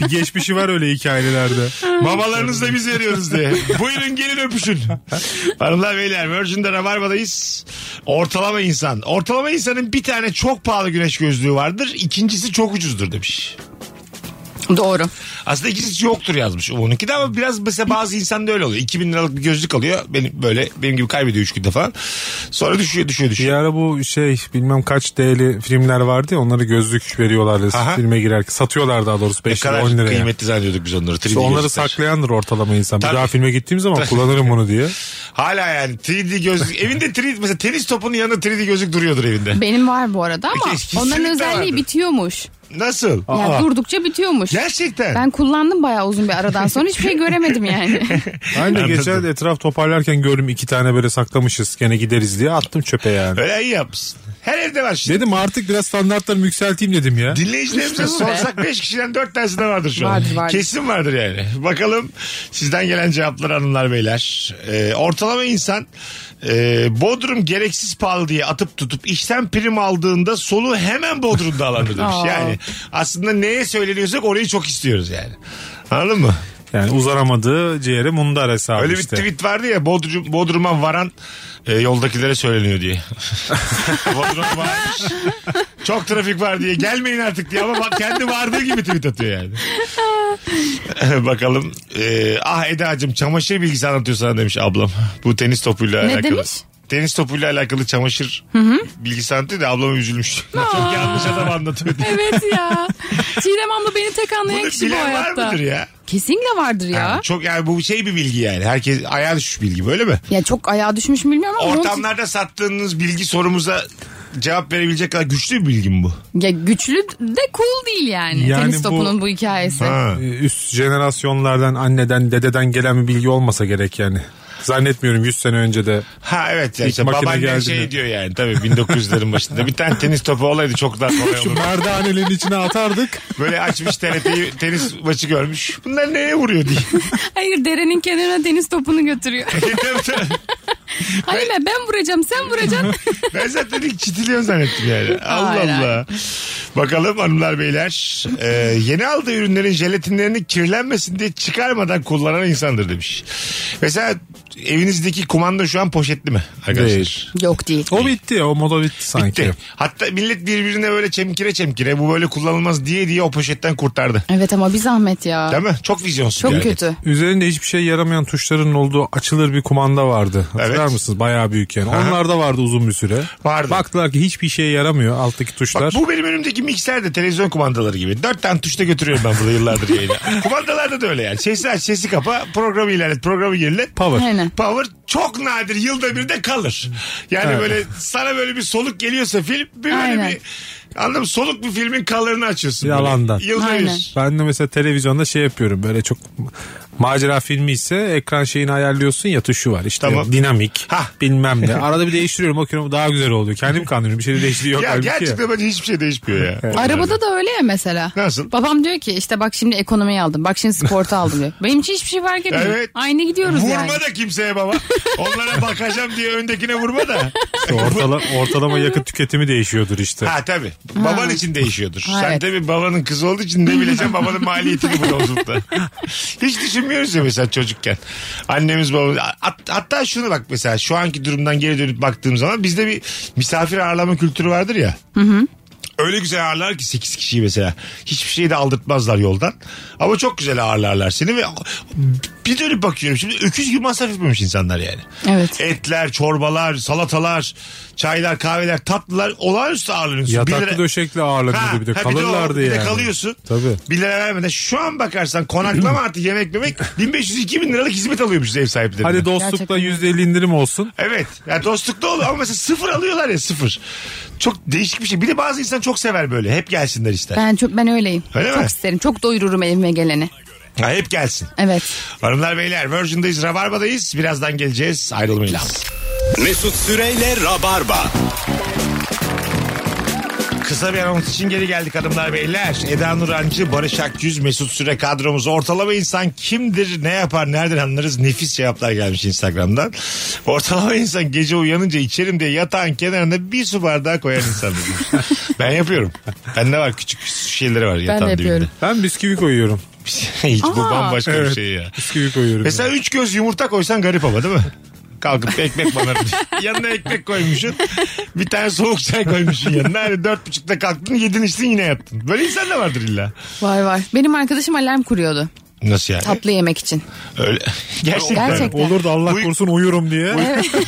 bir geçmişi var öyle hikayelerde. Babalarınızla biz veriyoruz diye. Buyurun gelin öpüşün. Hanımlar beyler Virgin'de Rabarba'dayız. Ortalama insan. Ortalama insanın bir tane çok pahalı güneş gözlüğü vardır. İkincisi çok ucuzdur demiş. Doğru. Aslında ikincisi yoktur yazmış Umu'nunki de ama biraz mesela bazı insan da öyle oluyor. 2000 liralık bir gözlük alıyor. Benim böyle benim gibi kaybediyor 3 günde falan. Sonra düşüyor düşüyor Bir düşüyor. ara bu şey bilmem kaç değerli filmler vardı ya onları gözlük veriyorlardı Aha. filme girerken satıyorlar daha doğrusu Ne 5 lira kadar 10 liraya. kıymetli zannediyorduk biz onları. 3D İşte onları gözlükler. saklayandır ortalama insan. Tabii. Bir daha filme gittiğim zaman kullanırım bunu diye. Hala yani 3D gözlük. evinde 3D mesela tenis topunun yanında 3D gözlük duruyordur evinde. Benim var bu arada ama Keşke onların kesinlikle özelliği vardır. bitiyormuş. Nasıl? Yani durdukça bitiyormuş. Gerçekten. Ben kullandım bayağı uzun bir aradan sonra hiçbir şey göremedim yani. Ben de Anladım. geçen etraf toparlarken gördüm iki tane böyle saklamışız gene gideriz diye attım çöpe yani. Öyle iyi yapmışsın. Her evde var şimdi. Dedim artık biraz standartlarımı yükselteyim dedim ya. Dinleyicilerimize İşte bu be. sorsak 5 kişiden 4 tanesi de vardır şu an. Vardır, vardır. Kesin vardır yani. Bakalım sizden gelen cevaplar hanımlar beyler. Ee, ortalama insan e, Bodrum gereksiz pahalı diye atıp tutup işten prim aldığında solu hemen Bodrum'da alanır demiş. Aa. yani aslında neye söyleniyorsak orayı çok istiyoruz yani. Anladın mı? Yani uzanamadığı ciğere mundar hesabı Öyle işte. bir tweet vardı ya Bodrum, Bodrum'a varan e, yoldakilere söyleniyor diye. Bodrum'a varmış. Çok trafik var diye gelmeyin artık diye ama bak kendi vardığı gibi tweet atıyor yani. Bakalım. E, ah Eda'cığım çamaşır bilgisi anlatıyor sana demiş ablam. Bu tenis topuyla Ne alakalı. demiş? Tenis topuyla alakalı çamaşır bilgisi anlatıyor da ablama üzülmüş. Çok yanlış adam anlatıyor diye. evet ya. Çiğdem abla beni tek anlayan Bunu kişi bu bilen var hayatta. mıdır ya? Kesinlikle vardır ya. Ha, çok yani bu şey bir bilgi yani. Herkes ayağa düşmüş bilgi böyle mi? Ya çok ayağa düşmüş mü bilmiyorum ama onun- Ortamlarda sattığınız bilgi sorumuza cevap verebilecek kadar güçlü bir bilgi mi bu? ya güçlü de cool değil yani. Yani Tenis bu- topunun bu hikayesi. Ha. Ee, üst jenerasyonlardan anneden dededen gelen bir bilgi olmasa gerek yani. Zannetmiyorum 100 sene önce de. Ha evet ya İlk işte makine babaannen geldi şey mi? diyor yani tabii 1900'lerin başında bir tane tenis topu olaydı çok daha kolay olurdu. Merdanelerin içine atardık. Böyle açmış TRT'yi tenis maçı görmüş. Bunlar neye vuruyor diye. Hayır derenin kenarına tenis topunu götürüyor. Tabii, tabii. Hayır ben, ben vuracağım sen vuracaksın. ben zaten ilk çitiliyor zannettim yani. Allah Hayır, Allah. Bakalım hanımlar beyler. Ee, yeni aldığı ürünlerin jelatinlerini kirlenmesin diye çıkarmadan kullanan insandır demiş. Mesela evinizdeki kumanda şu an poşetli mi arkadaşlar? Değil. Yok değil. O bitti ya o moda bitti sanki. Bitti. Hatta millet birbirine böyle çemkire çemkire bu böyle kullanılmaz diye diye o poşetten kurtardı. Evet ama bir zahmet ya. Değil mi? Çok vizyonsuz Çok bir hareket. kötü. Üzerinde hiçbir şey yaramayan tuşların olduğu açılır bir kumanda vardı. Hatırlar Evet. mısınız? Bayağı büyük yani. Onlar da vardı uzun bir süre. Vardı. Baktılar ki hiçbir şeye yaramıyor alttaki Bak tuşlar. bu benim önümdeki mikser de televizyon kumandaları gibi. Dört tane tuşta götürüyorum ben bunu yıllardır yayına. Kumandalarda da öyle yani. Sesi aç, sesi kapa, programı ilerlet, programı gerilet. Power. Aynen. Power çok nadir yılda bir de kalır. Yani Evet. böyle sana böyle bir soluk geliyorsa film bir böyle Aynen. bir anladın mı? Soluk bir filmin kalarını açıyorsun. böyle. Yalandan. Yılda Aynen. bir. Ben de mesela televizyonda şey yapıyorum böyle çok macera filmi ise ekran şeyini ayarlıyorsun ya tuşu var işte Tamam. dinamik Hah. bilmem ne. Arada bir değiştiriyorum bakıyorum daha güzel oluyor. Kendimi kandırıyorum bir şey de değiştiriyor. Ya halbuki gerçekten bence hiçbir şey değişmiyor ya. Arabada da öyle ya mesela. Nasıl? Babam diyor ki işte bak şimdi ekonomiyi aldım. Bak şimdi sportu aldım diyor. Benim için hiçbir şey fark etmiyor. Evet. Aynı gidiyoruz Vurma yani. da kimseye baba. Onlara bakacağım diye öndekine vurma da. İşte ortala, ortalama yakıt tüketimi değişiyordur işte. Ha tabii. Baban için değişiyordur. Sen Evet. tabii babanın kızı olduğu için ne bileceksin babanın maliyetini bu yolculukta. Hiç düşünmüyoruz ya mesela çocukken. Annemiz babamız. Hat- hatta şunu bak mesela şu anki durumdan geri dönüp baktığım zaman bizde bir misafir ağırlama kültürü vardır ya. Öyle güzel ağırlar ki 8 kişiyi mesela. Hiçbir şeyi de aldırtmazlar yoldan. Ama çok güzel ağırlarlar seni ve bir dönüp bakıyorum şimdi öküz gibi masraf etmemiş insanlar yani. Evet. Etler, çorbalar, salatalar, çaylar, kahveler, tatlılar olağanüstü ağırlanıyorsun. Bir Yataklı lira- döşekli Ha, ağırlanıyordu bir de. ha, bir de o- Kalırlardı bir de yani. kalıyorsun. Tabii. 1 lira vermeden şu an bakarsan konaklama artı yemek yemek 1500-2000 liralık hizmet alıyormuşuz ev sahiplerine. Hadi dostlukla Gerçekten. %50 indirim olsun. Evet. Yani dostlukta olur ama mesela sıfır alıyorlar ya sıfır. Çok değişik bir şey. Bir de bazı insan çok sever böyle. Hep gelsinler ister. Ben çok ben öyleyim. Öyle çok mi? isterim. Çok doyururum evime geleni. Ha, hep gelsin. Evet. Hanımlar beyler Virgin'dayız Rabarba'dayız. Birazdan geleceğiz. Ayrılmayın. Mesut Süreyle Rabarba. Kısa bir anons için geri geldik hanımlar beyler. Eda Nurancı, Barış Akyüz, Mesut Süre kadromuz. Ortalama insan kimdir, ne yapar, nereden anlarız? Nefis cevaplar gelmiş Instagram'dan. Ortalama insan gece uyanınca içerim diye yatağın kenarına bir su bardağı koyan insan. demiş. ben yapıyorum. Bende var küçük şişeleri var yatağın yapıyorum. Ben bisküvi koyuyorum. dibinde. Hiç bu Aa. bambaşka bir Evet. şey ya. Bisküvi koyuyorum. Mesela üç göz yumurta koysan garip ama değil mi? Kalkıp ekmek banarım. yanına ekmek koymuşsun. Bir tane soğuk çay koymuşsun yanına. Hani dört buçukta kalktın yedin içtin yine yattın. Böyle insan da vardır illa. Vay vay. Benim arkadaşım alarm kuruyordu Nasıl yani? tatlı yemek için. Öyle. Gerçekten. Gerçekten. Olur da Allah Uy- korusun uyurum diye.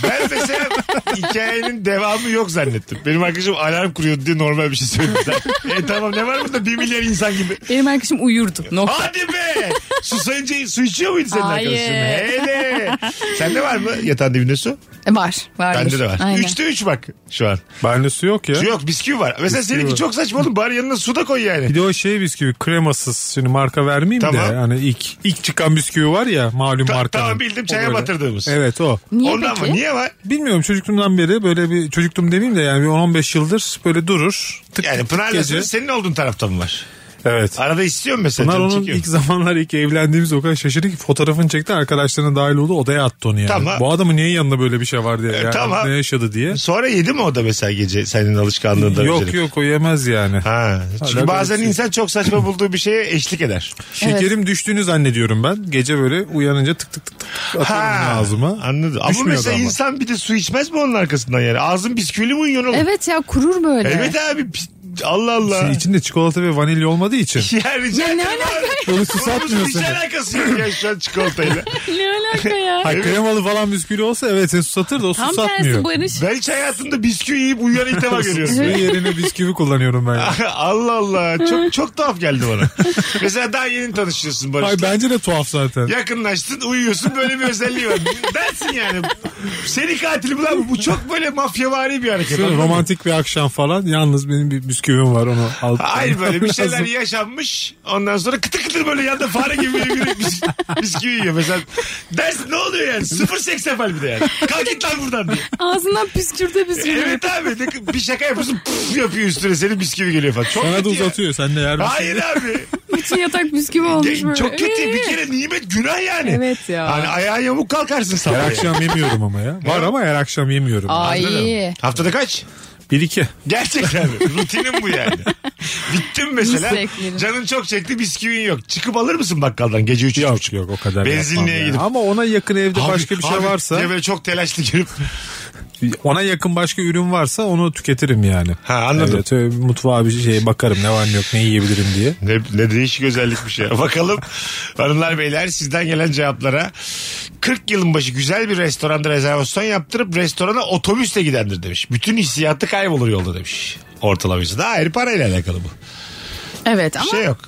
Ben mesela hikayenin devamı yok zannettim. Benim arkadaşım alarm kuruyordu diye normal bir şey söyledi. e tamam ne var burada bir milyar insan gibi. Benim arkadaşım uyurdu. Nokta. Hadi be! Susayınca su içiyor muydu senin Hayır. arkadaşın? Hele! Sende var mı yatağın dibinde su? E, var. Vardır. Bende de var. Aynen. Üçte üç bak şu an. Bende su yok ya. Su Yok bisküvi var. Mesela Bisküvi seninki var. çok saçma oğlum. Bari yanına su da koy yani. Bir de o şey bisküvi kremasız. Şimdi marka vermeyeyim Tamam. de. Hani ilk ilk çıkan bisküvi var ya malum Ta- marka. tamam bildim, çaya batırdığımız. Evet o. Niye Ondan peki? mı? Niye var? Bilmiyorum çocukluğumdan beri böyle bir çocukluğum demeyeyim de yani bir 10-15 yıldır böyle durur. Tık Yani tık Pınar gece. Lasır'ın senin olduğun tarafta mı var? Evet. Arada istiyorum mesela. Pınar canım onun çekiyor. ilk zamanlar ilk evlendiğimiz o kadar şaşırdı ki fotoğrafını çekti arkadaşlarına dahil oldu odaya attı onu yani. Tamam. Bu adamın niye yanında böyle bir şey var diye. E, yani tamam. Ne yaşadı diye. Sonra yedi mi o da mesela gece senin alışkanlığında? Yok yok o yemez yani. Ha. Çünkü bazen Hala garipsiyor. insan çok saçma bulduğu bir şeye eşlik eder. Şekerim düştüğünü zannediyorum ben. Gece böyle uyanınca tık tık tık tık atıyorum bunu ağzıma. Anladım. Ama Düşmüyordu mesela insan bir de su içmez mi onun arkasından yani? Ağzın bisküvili mi uyuyor oğlum? Evet ya kurur böyle. Evet abi. pis- Allah Allah. Şimdi Şey, içinde çikolata ve vanilya olmadığı için. Ya rica Ya ne ederim abi. Onu Bunun susatmıyor hiç seni. alakası yok ya şu an çikolatayla. Ne alaka ya? Ha, kremalı falan bisküvi olsa evet seni susatır da o Tam susatmıyor. tersi Barış. Ben hiç hayatımda bisküvi yiyip uyuyan ilk defa görüyorum. Ve yerine bisküvi kullanıyorum ben. ya. Allah Allah. Çok çok tuhaf geldi bana. Mesela daha yeni tanışıyorsun Ay Barış'la. bence de tuhaf zaten. Yakınlaştın uyuyorsun böyle bir özelliği var. Dersin yani. Seni katilim lan bu çok böyle mafyavari bir hareket. Şöyle anladın mı? romantik bir akşam falan yalnız benim bir bisküvim var onu al. Hayır böyle bir şeyler Lazım. yaşanmış. Ondan sonra kıtır kıtır böyle yanda fare gibi bir yürek bis, bisküvi yiyor. Mesela ders ne oluyor yani? Sıfır seks sefer bir de yani. Kalk git lan buradan diye. Ağzından püskürte püskürte. Evet abi ne- bir şaka yapıyorsun puf yapıyor üstüne senin bisküvi geliyor falan. Çok Sana da kötü ya. uzatıyor sen de yer misin? Hayır abi. Bütün yatak bisküvi olmuş Ya, böyle. çok kötü. Bir Ee, kere nimet günah yani. Evet ya. Hani ayağa yamuk kalkarsın sabah. Her yani. akşam yemiyorum ama ya. Var ama her akşam yemiyorum. Ay. Anladın mı? Haftada kaç? 1-2. Gerçekten rutinim bu yani. Bittim mesela. Müsteklerim. Canın çok çekti bisküvin yok. Çıkıp alır mısın bakkaldan gece 3 Yok şey yok o kadar. Benzinliğe yapmam yani. gidip. Ama ona yakın evde başka bir şey varsa böyle çok telaşlı girip. ona yakın başka ürün varsa onu tüketirim yani. Ha, anladım. Evet, öyle bir mutfağa bir şeye bakarım ne var ne yok ne yiyebilirim diye. Ne, ne değişik özellikmiş ya. Bakalım hanımlar beyler sizden gelen cevaplara. 40 yılın başı güzel bir restoranda rezervasyon yaptırıp restorana otobüsle gidendir demiş. Bütün hissiyatı kaybolur yolda demiş. Ortalaması da ayrı parayla alakalı bu. Evet Bir ama şey yok.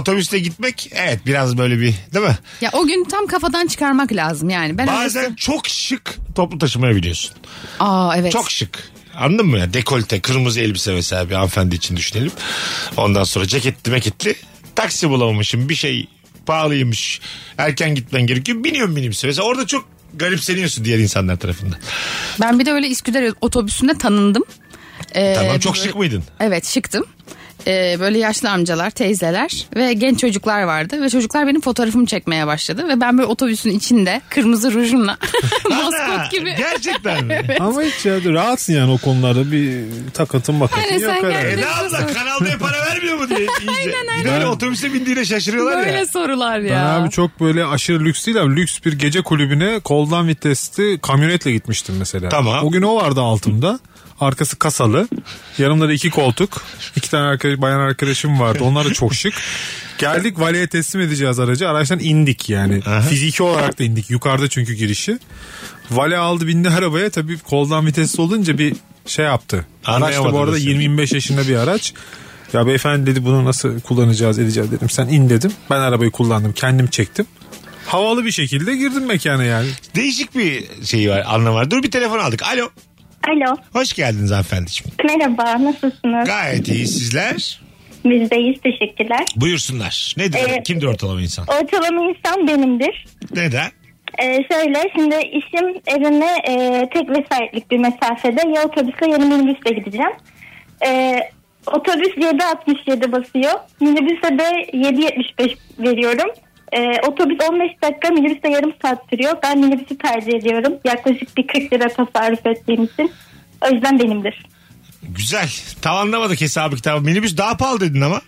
Otobüsle gitmek evet biraz böyle bir değil mi? ya o gün tam kafadan çıkarmak lazım yani. Ben Bazen çok şık toplu taşımaya biliyorsun. Aa evet. Çok şık. Anladın mı ya? Dekolte, kırmızı elbise mesela bir hanımefendi için düşünelim. Ondan sonra ceketli meketli. Taksi bulamamışım bir şey pahalıymış. Erken gitmen gerekiyor. Biniyorum minibüse. Mesela orada çok garipseniyorsun diğer insanlar tarafından. Ben bir de öyle İsküdar otobüsünde tanındım. Ee, tamam çok bir- şık mıydın? Evet şıktım. Ee, böyle yaşlı amcalar, teyzeler ve genç çocuklar vardı. Ve çocuklar benim fotoğrafımı çekmeye başladı. Ve ben böyle otobüsün içinde kırmızı rujumla Ana, maskot gibi. Gerçekten mi? Ama hiç ya, rahatsın yani o konularda bir takıntın bakıntın Aynen, yok. sen herhalde. gel- Eda E abla kanalda para vermiyor mu diye. iyice. Bir de öyle otobüse bindiğine şaşırıyorlar Böyle ya. sorular Ben ya. abi çok böyle aşırı lüks değil abi lüks bir gece kulübüne koldan vitesli kamyonetle gitmiştim mesela. Tamam. O gün o vardı altımda. Arkası kasalı. Yanımda da iki koltuk. İki tane arkadaş, bayan arkadaşım vardı. Onlar da çok şık. Geldik valiye teslim edeceğiz aracı. Araçtan indik yani. Fiziki olarak da indik. Yukarıda çünkü girişi. Vali aldı bindi arabaya. Tabii koldan vitesli olunca bir şey yaptı. Araç da bu arada Anlayamadınız. 20-25 yaşında bir araç. Ya beyefendi dedi bunu nasıl kullanacağız edeceğiz dedim. Sen in dedim. Ben arabayı kullandım. Kendim çektim. Havalı bir şekilde girdim mekana yani. Değişik bir şey var anlam var. Dur bir telefon aldık. Alo. Alo. Hoş geldiniz hanımefendiciğim. Merhaba. Nasılsınız? Gayet iyi sizler. Bizdeyiz. Teşekkürler. Buyursunlar. Nedir? Evet. Kimdir ortalama insan? Ortalama insan benimdir. Neden? Ee, şöyle şimdi işim evime e, tek vesayetlik bir mesafede ya otobüsle ya minibüsle gideceğim. Ee, Otobüs 7.67 basıyor. Minibüse de 7.75 veriyorum. Ee, otobüs 15 dakika minibüse yarım saat sürüyor. Ben minibüsü tercih ediyorum. Yaklaşık bir 40 lira tasarruf ettiğim için. O yüzden benimdir. Güzel. Tam anlamadık hesabı kitabı. Minibüs daha pahalı dedin ama.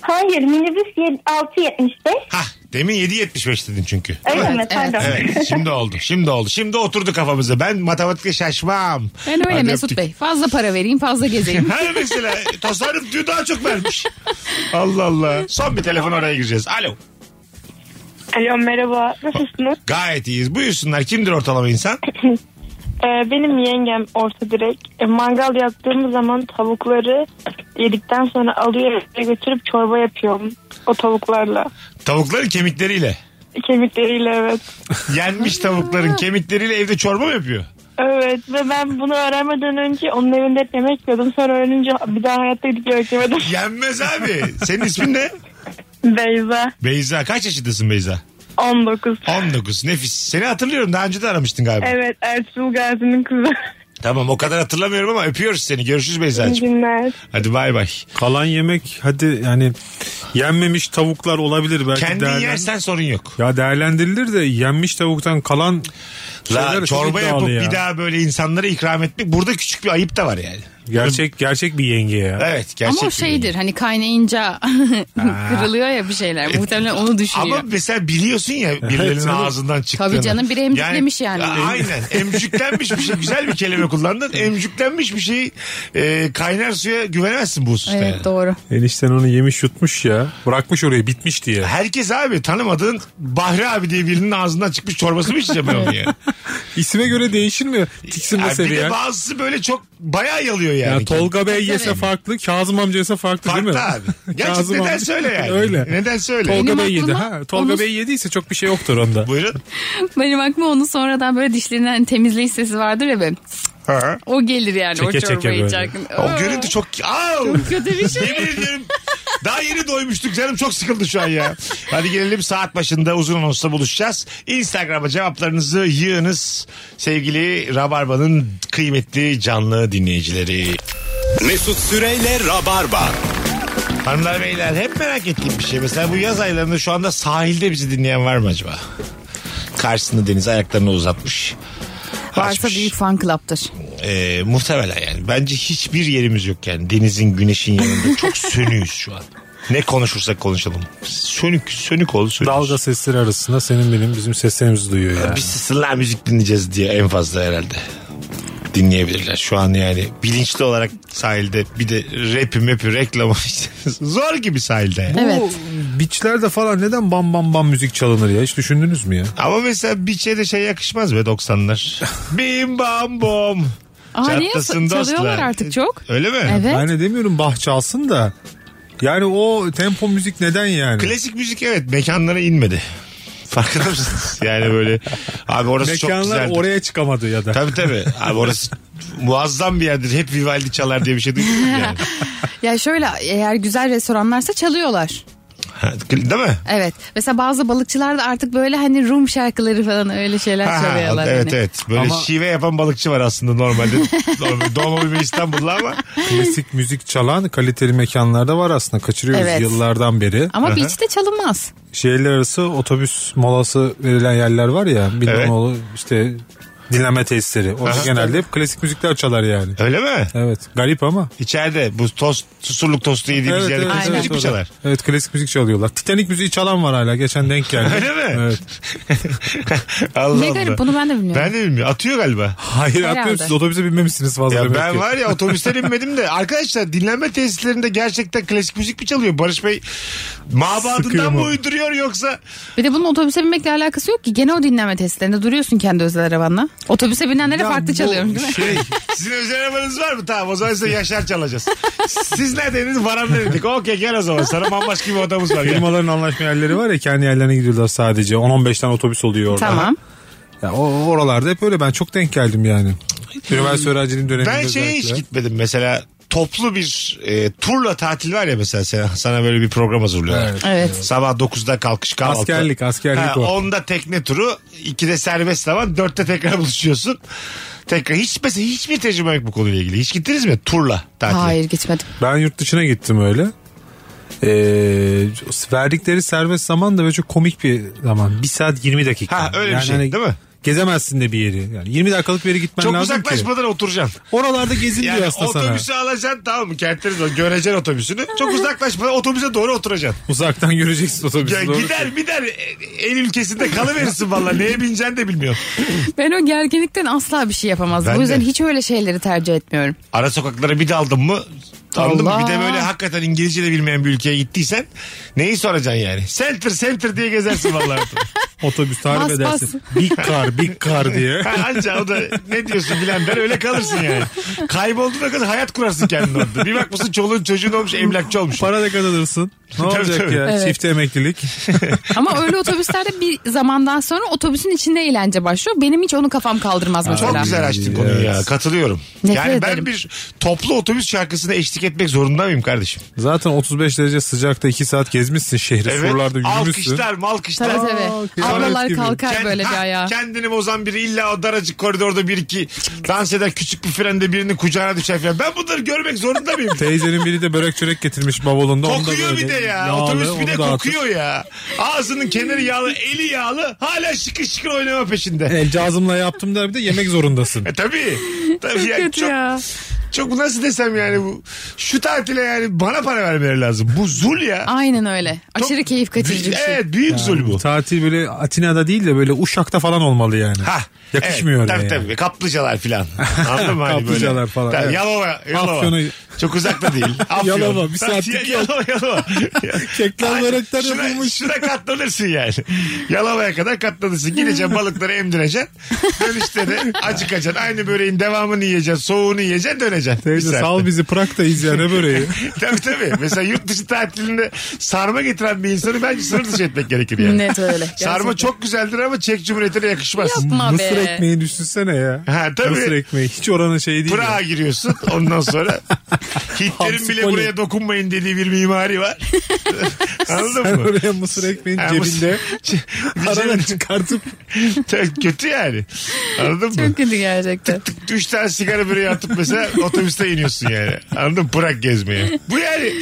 Hayır minibüs yed- 6.75. Hah demin 7.75 dedin çünkü. Öyle mi? Evet, Pardon. Evet şimdi oldu şimdi oldu. Şimdi oturdu kafamıza. Ben matematikte şaşmam. Ben öyle Hadi Mesut öptük. Bey. Fazla para vereyim fazla gezeyim. Ha mesela tasarruf diyor daha çok vermiş. Allah Allah. Son bir telefon oraya gireceğiz. Alo. Alo merhaba nasılsınız? Gayet iyiyiz. Buyursunlar. Kimdir ortalama insan? Ee, benim yengem orta direk. E, mangal yaptığımız zaman tavukları yedikten sonra alıyor eve götürüp çorba yapıyorum. O tavuklarla. Tavukların kemikleriyle. Kemikleriyle evet. Yenmiş tavukların kemikleriyle evde çorba mı yapıyor? Evet ve ben bunu öğrenmeden önce onun evinde hep yemek yiyordum. Sonra öğrenince bir daha hayatta gidip yemek yemedim. Yenmez abi. Senin ismin ne? Beyza Beyza. Kaç yaşındasın Beyza? 19. 19. Nefis. Seni hatırlıyorum. Daha önce de aramıştın galiba. Evet Ertuğrul Gazi'nin kızı. Tamam o kadar hatırlamıyorum ama öpüyoruz seni. Görüşürüz İyi Beyza'cığım. günler. Hadi bay bay. Kalan yemek hadi yani yenmemiş tavuklar olabilir belki Kendin değerlen- yersen sorun yok. Ya değerlendirilir de yenmiş tavuktan kalan şeyler La, çorba çok yapıp iddialı ya. bir daha böyle insanlara ikram etmek burada küçük bir ayıp da var yani. Gerçek gerçek bir yenge ya. Evet gerçek. Ama o bir şeydir hani kaynayınca kırılıyor ya bir şeyler. Muhtemelen onu düşünüyor. Ama mesela biliyorsun ya birilerinin canım. ağzından çıktığını. Tabii canım, biri emcüklemiş yani. A- Aynen emcüklenmiş bir şey. Güzel bir kelime kullandın. Emcüklenmiş bir şey e, kaynar suya güvenemezsin bu hususta. yani. Evet doğru. Enişten onu yemiş yutmuş ya. Bırakmış oraya bitmiş diye. Herkes abi tanımadığın Bahri abi diye birinin ağzından çıkmış çorbası mı içeceğim ben onu yani? İsime göre değişir mi? Tiksinme Ya bir de seviyen. bazısı böyle çok bayağı yalıyor yani. Yani Tolga Bey yese Tabii. farklı, Kazım amca yese farklı, Farklı değil mi? abi. Gerçekten Kazım neden amca- söyle yani? Öyle. Neden söyle? Tolga Benim Bey yedi aklıma ha. Tolga onu- Bey yediyse çok bir şey yoktur onda. Buyurun. Benim aklıma onu sonradan böyle dişlerinden hani temizleyici sesi vardır ya benim. Ha. O gelir yani Çeke o çeke çorbayı böyle. içerken. O Aa, görüntü çok... Au! Kötü bir şey. Yemin ediyorum. Daha yeni doymuştuk canım çok sıkıldı şu an ya. Hadi gelelim saat başında uzun anonsla buluşacağız. Instagram'a cevaplarınızı yığınız sevgili Rabarba'nın kıymetli canlı dinleyicileri. Mesut Süreyle Rabarba. Hanımlar beyler hep merak ettiğim bir şey. Mesela bu yaz aylarında şu anda sahilde bizi dinleyen var mı acaba? Karşısında deniz ayaklarını uzatmış. Varsa Açmış. büyük fan club'tır. Ee, muhtemelen yani. Bence hiçbir yerimiz yok yani. Denizin, güneşin yanında. Çok sönüyüz şu an. Ne konuşursak konuşalım. Sönük, sönük ol, sönük. Dalga sesleri arasında senin benim bizim seslerimizi duyuyor yani. Biz sısırlar müzik dinleyeceğiz diye en fazla herhalde. Dinleyebilirler. Şu an yani bilinçli olarak sahilde bir de rapi mepi reklamı işte. zor gibi sahilde. yani. Evet. Biçlerde falan neden bam bam bam müzik çalınır ya? Hiç düşündünüz mü ya? Ama mesela biçe de şey yakışmaz be 90'lar. Bim bam bom. Aa, niye Çatlasın çalıyorlar dostlar. artık çok? Öyle mi? Evet. Ben de demiyorum bah çalsın da. Yani o tempo müzik neden yani? Klasik müzik evet mekanlara inmedi. Farkında mısınız? Yani böyle abi orası çok Mekanlar güzeldi. oraya çıkamadı ya da. Tabii tabii. Abi orası muazzam bir yerdir. Hep Vivaldi çalar diye bir şey duydun mu yani? Ya şöyle eğer güzel restoranlarsa çalıyorlar. Ha, Değil mi? Evet. Mesela bazı balıkçılar da artık böyle hani Rum şarkıları falan öyle şeyler Ha, ha, çalıyorlar. evet hani. evet. Böyle Ama- şive yapan balıkçı var aslında normalde. Normal- Doğma büyüme İstanbul'da ama. Klasik müzik çalan kaliteli mekanlarda var aslında. Kaçırıyoruz Evet. yıllardan beri. Ama beach'te çalınmaz. Şehirler arası otobüs molası verilen yerler var ya. Bilmem Evet. oğlu işte dinleme tesisleri. Orada Aha. genelde hep klasik müzikler çalar yani. Öyle mi? Evet. Garip ama. İçeride bu tost, susurluk tostu yediğimiz Evet, yerde evet, klasik evet, müzik mi orada. çalar? Evet klasik müzik çalıyorlar. Titanic müziği çalan var hala. Geçen denk geldi. Öyle mi? Evet. Allah ne garip Allah. bunu ben de bilmiyorum. Ben de bilmiyorum. Atıyor galiba. Hayır Herhalde. atmıyorum siz otobüse binmemişsiniz fazla. Ya demek ben ki. var ya otobüsten inmedim de arkadaşlar dinlenme tesislerinde gerçekten klasik müzik mi çalıyor? Barış Bey Sıkıyor mabadından mu? mı uyduruyor yoksa? Bir de bunun otobüse binmekle alakası yok ki. Gene o dinleme testlerinde duruyorsun kendi özel arabanla. Otobüse binenlere Ya farklı bu çalıyorum değil mi? Şey, Sizin özel arabanız var mı? Tamam o zaman size Yaşar çalacağız. Siz neredeniz? Varan dedik. Okey gel o zaman. Sana bambaşka bir odamız var. Gel. firmaların anlaşma yerleri var ya kendi yerlerine gidiyorlar sadece. 10-15 tane otobüs oluyor orada. Tamam. Ya o, oralarda hep öyle ben çok denk geldim yani. Üniversite öğrenciliğim döneminde Ben şeye hiç özellikle. gitmedim mesela toplu bir e, turla tatil var ya mesela sana, sana böyle bir program hazırlıyorlar. Evet. Evet. Sabah 9'da kalkış kahvaltı. Askerlik, askerlik Ha, o. 10'da tekne turu, 2'de serbest zaman, 4'te tekrar buluşuyorsun. Tekrar hiç mesela hiçbir tecrübe yok bu konuyla ilgili. Hiç gittiniz mi turla tatile? Hayır gitmedim. Ben yurt dışına gittim öyle. Ee, verdikleri serbest zaman da böyle çok komik bir zaman. 1 saat 20 dakika. hani Ha, öyle bir şey, değil mi? Gezemezsin de bir yeri. Yani 20 dakikalık bir yere gitmen Çok lazım ki. uzaklaşmadan oturacaksın. Oralarda gezin Yani diyor aslında sana. otobüsü alacaksın tamam mı? Kentleriz var. Göreceksin otobüsünü. Çok uzaklaşmadan otobüse doğru oturacaksın. Uzaktan göreceksin otobüsü. Ya doğru. şey. gider gider el ülkesinde kalıverirsin valla. Neye bineceksin de bilmiyorsun. Ben o gerginlikten asla bir şey yapamazdım. Ben o yüzden de. hiç öyle şeyleri tercih etmiyorum. Ara sokaklara bir daldın mı Anladın mı? Allah. Bir de böyle hakikaten İngilizce de bilmeyen bir ülkeye gittiysen neyi soracaksın yani? Center center diye gezersin vallahi. Otobüs tarif Bas, bas. edersin. Big car, big car diye. Ha, Anca o da ne diyorsun bilen ben öyle kalırsın yani. Kaybolduğuna kadar hayat kurarsın kendin orada. Bir bakmışsın çoluğun çocuğun olmuş emlakçı olmuş. Para da kazanırsın. Ne Tabii, olacak tabii. ya? Evet. Çift emeklilik. Ama öyle otobüslerde bir zamandan sonra otobüsün içinde eğlence başlıyor. Benim hiç onu kafam kaldırmaz mesela. Çok güzel açtın konuyu Evet. ya katılıyorum. Nefret yani ben ederim. bir toplu otobüs şarkısına eşlik etmek zorunda mıyım kardeşim? Zaten 35 derece sıcakta 2 saat gezmişsin şehri. Evet. Surlarda yürümüşsün. Alkışlar malkışlar. Tabii Aa, tabii. kıyamet Ablalar gibi. kalkar Kend- böyle bir Ha, ayağa. Kendini bozan biri illa o daracık koridorda bir iki dans eder küçük bir frende birini kucağına düşer falan. Ben bunları görmek zorunda mıyım? Teyzenin biri de börek çörek getirmiş bavulunda. Onu da kokuyor böyle bir de ya. yağlı, Otobüs bir de onu dağıtıp- kokuyor ya. Ağzının kenarı yağlı, eli yağlı. Hala şıkır şıkır oynama peşinde. El cazımla yaptım der bir de yemek zorundasın. E tabii. Tabii yani Kötü çok, ya. çok nasıl desem yani bu şu tatile yani bana para vermeleri lazım. Bu zul ya. Aynen öyle. Çok- Aşırı keyif kaçırıcı bir şey. Evet büyük zul bu. Tatil böyle Atina'da değil de böyle Uşak'ta falan olmalı yani. Ha. Yakışmıyor evet, oraya tabii, yani. Tabii Kaplıcalar filan. Anladın mı? Hani Kaplıcalar böyle? falan, Tabii, evet. Yalova. Yalova. Afyon'u- Çok uzakta değil. Afyon. Yalova, bir Tabii, saatlik ya- yol. Yalova Yalova. Kekler, Ay, börekler şuna- yapılmış. Şuna katlanırsın yani. Yalova'ya kadar katlanırsın. Gideceksin balıkları emdireceksin. Dönüşte de acıkacaksın. Aynı böreğin devamını yiyeceksin. Soğuğunu yiyeceksin döneceksin. Bir Teyze saatte. sal bizi Prag'dayız ya ne böreği. tabii tabii. Mesela yurt dışı tatilinde sarma getiren bir insanı bence sınır dışı etmek gerekir yani. Net öyle. Sarma Gerçekten. çok güzeldir ama Çek Cumhuriyeti'ne yakışmaz. Yapma Mısır be. ekmeği düşünsene ya. Ha, tabii. Mısır ekmeği hiç orana şey değil. Pırağa ya. giriyorsun ondan sonra Hitler'in Hamsi bile koli. buraya dokunmayın dediği bir mimari var. Anladın mı? Oraya mısır ekmeğin Ha, mısır- cebinde Cebinde. arada çıkartıp Çok kötü yani. Anladın mı? Çok kötü gerçekten. Üç tane sigara böreği atıp mesela otobüste iniyorsun yani. Anladın mı? Pırak gezmeye. Bu yani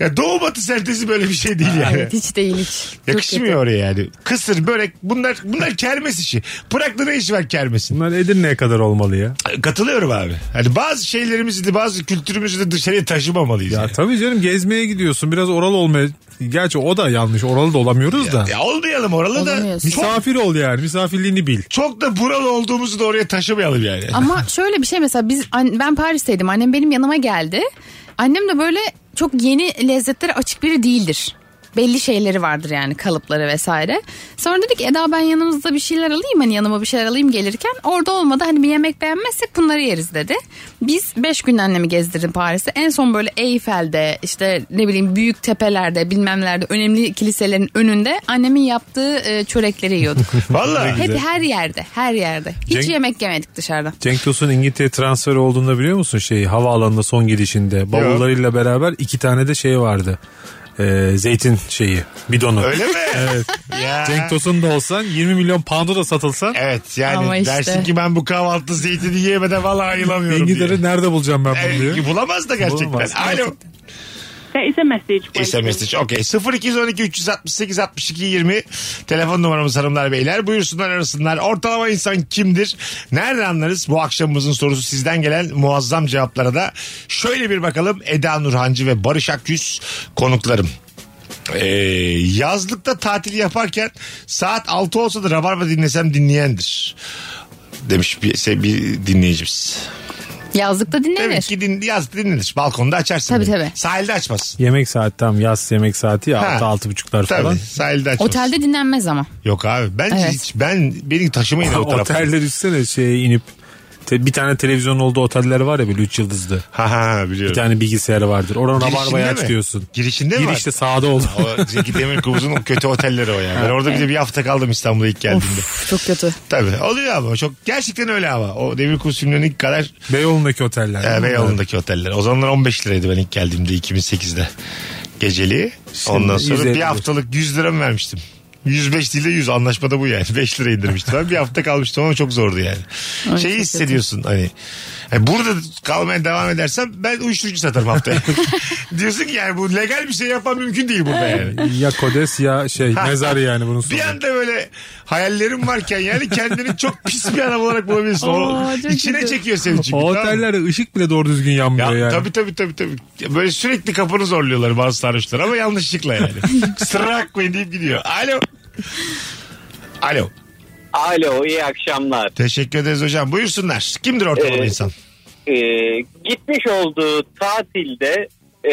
ya doğu batı sentezi böyle bir şey değil yani. Evet hiç değil hiç. Çok Yakışmıyor oraya yani. Kısır, börek bunlar bunlar kermes işi. Pırak'ta ne işi var kermesin? bunlar Edirne'ye kadar olmalı ya. Katılıyorum abi. Hani bazı şeylerimizi de bazı kültürümüzü de dışarıya taşımamalıyız. Ya yani. tabii canım gezmeye gidiyorsun biraz oral olmaya. Gerçi o da yanlış oralı da olamıyoruz da. Ya olmayalım oralı da. Olamıyorsun. Çok Misafir ol yani misafirliğini bil. çok da buralı olduğumuzu da oraya taşımayalım yani. Ama şöyle bir şey mesela biz an- ben Paris'teydim. Annem benim yanıma geldi. Annem de böyle çok yeni lezzetlere açık biri değildir. Belli şeyleri vardır yani kalıpları vesaire. Sonra dedik Eda ben yanımızda bir şeyler alayım hani yanıma bir şeyler alayım gelirken. Orada olmadı hani bir yemek beğenmezsek bunları yeriz dedi. Biz 5 gün annemi gezdirdim Paris'te. En son böyle Eyfel'de işte ne bileyim büyük tepelerde bilmemlerde önemli kiliselerin önünde annemin yaptığı e, çörekleri yiyorduk. Vallahi Hep her yerde her yerde. Hiç Cenk- yemek yemedik dışarıda. Cenk Tosun İngiltere transfer olduğunda biliyor musun şey havaalanında son gidişinde bavullarıyla beraber iki tane de şey vardı. Ee, zeytin şeyi bidonu. Öyle mi? Evet. Ya. Cenk Tosun da olsan 20 milyon pound'a da satılsan Evet yani Ama işte. dersin ki ben bu kahvaltı zeytini yiyemeden vallahi ayılamıyorum diye. İngiltere nerede bulacağım ben bunu diye. Evet, bulamaz da gerçekten. Bulamaz. Alo. It's a message. SMS için. Okey. 0212 368 62 20 telefon numaramız hanımlar beyler. Buyursunlar arasınlar. Ortalama insan kimdir? Nereden anlarız? Bu akşamımızın sorusu sizden gelen muazzam cevaplara da şöyle bir bakalım. Eda Nurhancı ve Barış Akyüz konuklarım. Ee, yazlıkta tatil yaparken saat 6 olsa da Rabarba dinlesem dinleyendir. Demiş bir, se- bir dinleyicimiz. Yazlıkta dinlenir. Demek ki din, yaz dinlenir. Balkonda açarsın. Tabii, diyor. tabii. Sahilde açmazsın. Yemek saati tam yaz yemek saati ya Ha. 6 altı buçuklar Tabii falan. sahilde açmazsın. Otelde dinlenmez ama. Yok abi bence Evet. hiç ben beni taşımayın o tarafa. Oteller üstüne şeye inip te- bir tane televizyon olduğu oteller var ya böyle 3 yıldızlı. Ha ha biliyorum. Bir tane bilgisayarı vardır. Oranın Girişinde rabarbaya mi? aç diyorsun. Girişinde mi var? Girişte sağda oldu. O Zeki Demirkubuz'un o kötü otelleri o yani. Ben orada bir de bir hafta kaldım İstanbul'a ilk geldiğimde. Of, çok kötü. Tabii oluyor ama çok gerçekten öyle ama. O Demirkubuz filmlerinin ilk kadar Beyoğlu'ndaki oteller. e, Beyoğlu'ndaki oteller. O zamanlar 15 liraydı ben ilk geldiğimde 2008'de. Geceliği. Ondan sonra 150 bir haftalık 100 lira mı vermiştim? 105 değil de 100 anlaşmada bu yani. 5 lira indirmiştim. Ben bir hafta kalmıştım ama çok zordu yani. Ay, Şeyi çok hissediyorsun hani. yani Burada kalmaya devam edersem ben uyuşturucu satarım haftaya. Diyorsun ki yani bu legal bir şey yapmam mümkün değil burada yani. Ya kodes ya şey mezar yani bunun sonu. Bir anda böyle hayallerim varken yani kendini çok pis bir adam olarak bulabilirsin. O Aa, çok içine kötü. çekiyor seni çünkü. O tamam mı? otellerde ışık bile doğru düzgün yanmıyor Ya yani. tabii tabii tabii tabii. Ya Böyle sürekli kapını zorluyorlar bazı sarhoşlar ama yanlışlıkla yani. Kusura bakmayın deyip gidiyor. Alo. Alo. Alo iyi akşamlar. Teşekkür ederiz hocam. Buyursunlar. Kimdir ortalama Ee, insan? Ee, gitmiş olduğu tatilde e,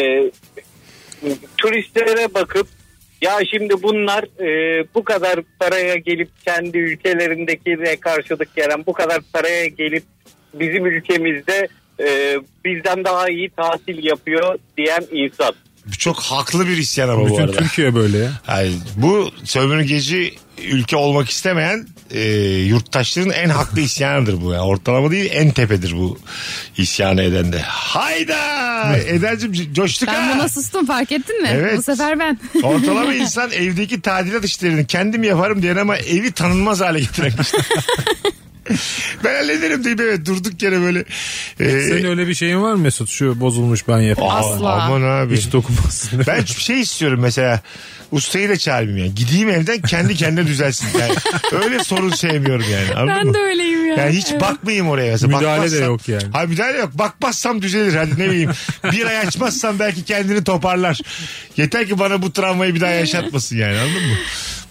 turistlere bakıp ya şimdi bunlar e, bu kadar paraya gelip kendi ülkelerindekine karşılık gelen bu kadar paraya gelip bizim ülkemizde e, bizden daha iyi tatil yapıyor diyen insan. Çok haklı bir isyan ama bu Bütün arada. Türkiye böyle ya. Hayır, bu sömürgeci ülke olmak istemeyen e, yurttaşların en haklı isyanıdır bu. Yani ortalama değil en tepedir bu isyanı eden de. Hayda! Eda'cığım co- coştuk Ben ha! buna sustum fark ettin mi? Evet. Bu sefer ben. Ortalama insan evdeki tadilat işlerini kendim yaparım diyen ama evi tanınmaz hale getiren kişi. ben hallederim deyip evet durduk yere böyle. e, Senin öyle bir şeyin var mı Mesut? Şu bozulmuş ben yapayım. Aa, Asla. Aman abi. Hiç dokunmasın. Ben bir şey istiyorum mesela. Ustayı da çağırayım yani. Gideyim evden kendi kendine düzelsin. Yani öyle sorun sevmiyorum yani. Anladın Ben mı? de öyleyim ya. Yani hiç Evet. bakmayayım oraya mesela. Müdahale de Bakmazsam- yok yani. Ha müdahale yok. Bakmazsam düzelir hadi ne bileyim. bir ay açmazsam belki kendini toparlar. Yeter ki bana bu travmayı bir daha yaşatmasın yani anladın mı?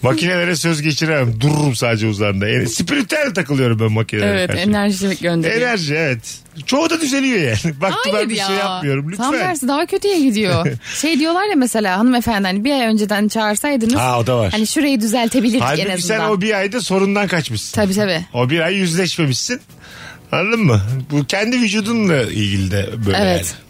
Makinelere söz geçiremem. Dururum sadece uzlarında. Yani spiritüel takılıyorum ben makinelere Evet karşı. enerji gönderiyor. şey. Enerji evet. Çoğu da düzeliyor yani. Baktı ben bir şey yapmıyorum lütfen. Tam tersi daha kötüye gidiyor. şey diyorlar ya mesela hanımefendi hani bir ay önceden çağırsaydınız. Ha o da var. Hani şurayı düzeltebilirdik en Halbuki azından. sen o bir ayda sorundan kaçmışsın. Tabii tabii. O bir ay yüzleşmemişsin. Anladın mı? Bu kendi vücudunla ilgili de böyle Evet. yani.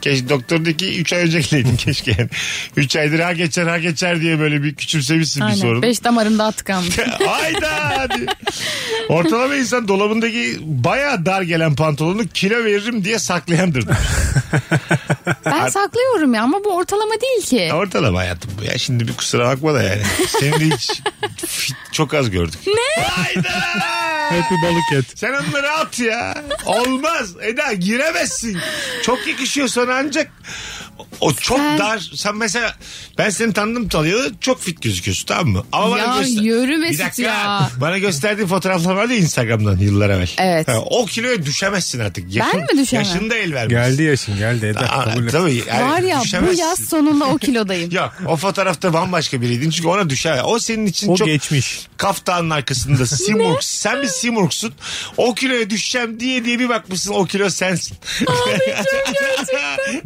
Keşke doktordaki 3 ay önce gideydin keşke yani. 3 aydır ha geçer ha geçer diye böyle bir küçümsemişsin bir Aynen. sorunu. Beş damarım daha tıkanmış. Hayda diye. Ortalama insan dolabındaki baya dar gelen pantolonu kilo veririm diye saklayandır. ben saklıyorum ya ama bu ortalama değil ki. Ortalama hayatım bu ya. Şimdi bir kusura bakma da yani. Seni de hiç fit- çok az gördük. Ne? Hayda. Hep bir balık et. Sen onları at ya. Olmaz. Eda giremezsin. Çok yakışıyor sana ancak o çok Sen- dar. Sen mesela ben seni tanıdım tanıyalı çok fit gözüküyorsun tamam mı? Ama Ya bana göster- yürü Bir Mesut dakika. ya. Bana gösterdiğin fotoğraflar vardı ya Instagram'dan yıllar evvel. Evet. Ha, o kiloya düşemezsin artık. Ben mi düşemem? Yaşın da el vermez. Geldi yaşın geldi. Eda, Aa, kabul et. tabii, yani Var ya bu düşemezsin. yaz sonunda o kilodayım. Yok o fotoğrafta bambaşka biriydin çünkü ona düşer. O senin için O çok geçmiş. kaftanın arkasında simurg. Sen bir simurgsun. O kiloya düşeceğim diye diye bir bakmışsın o kilo sensin.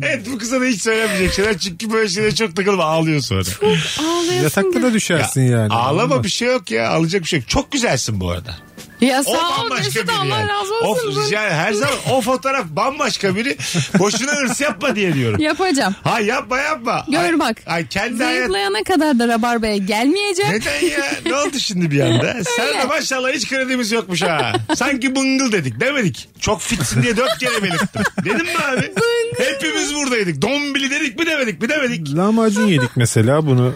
evet bu kıza da hiç söylemeyecek şeyler çünkü böyle şeylere çok takılma ağlıyor sonra. Ağlayasın Yatakta gel. da düşersin yani. Ağlama Olmaz. bir şey yok ya ağlayacak bir şey yok. Çok güzelsin bu arada. Ya O sağ ol bambaşka Mesut biri Allah yani. razı O- olsun. Bunu yani her zaman o fotoğraf bambaşka biri. Boşuna hırs yapma diye diyorum. Yapacağım. Ha yapma yapma. Gör Ay- bak. Ay kendi hayat Zayıflayana kadar da rabarbaya gelmeyeceğim. Neden ya? Ne oldu şimdi bir anda? Sen de maşallah hiç kredimiz yokmuş ha. Sanki bıngıl dedik demedik. Çok fitsin diye dört kere belirttim. Dedim mi abi? Hepimiz buradaydık. Dombili dedik mi demedik mi demedik. Lahmacun yedik mesela bunu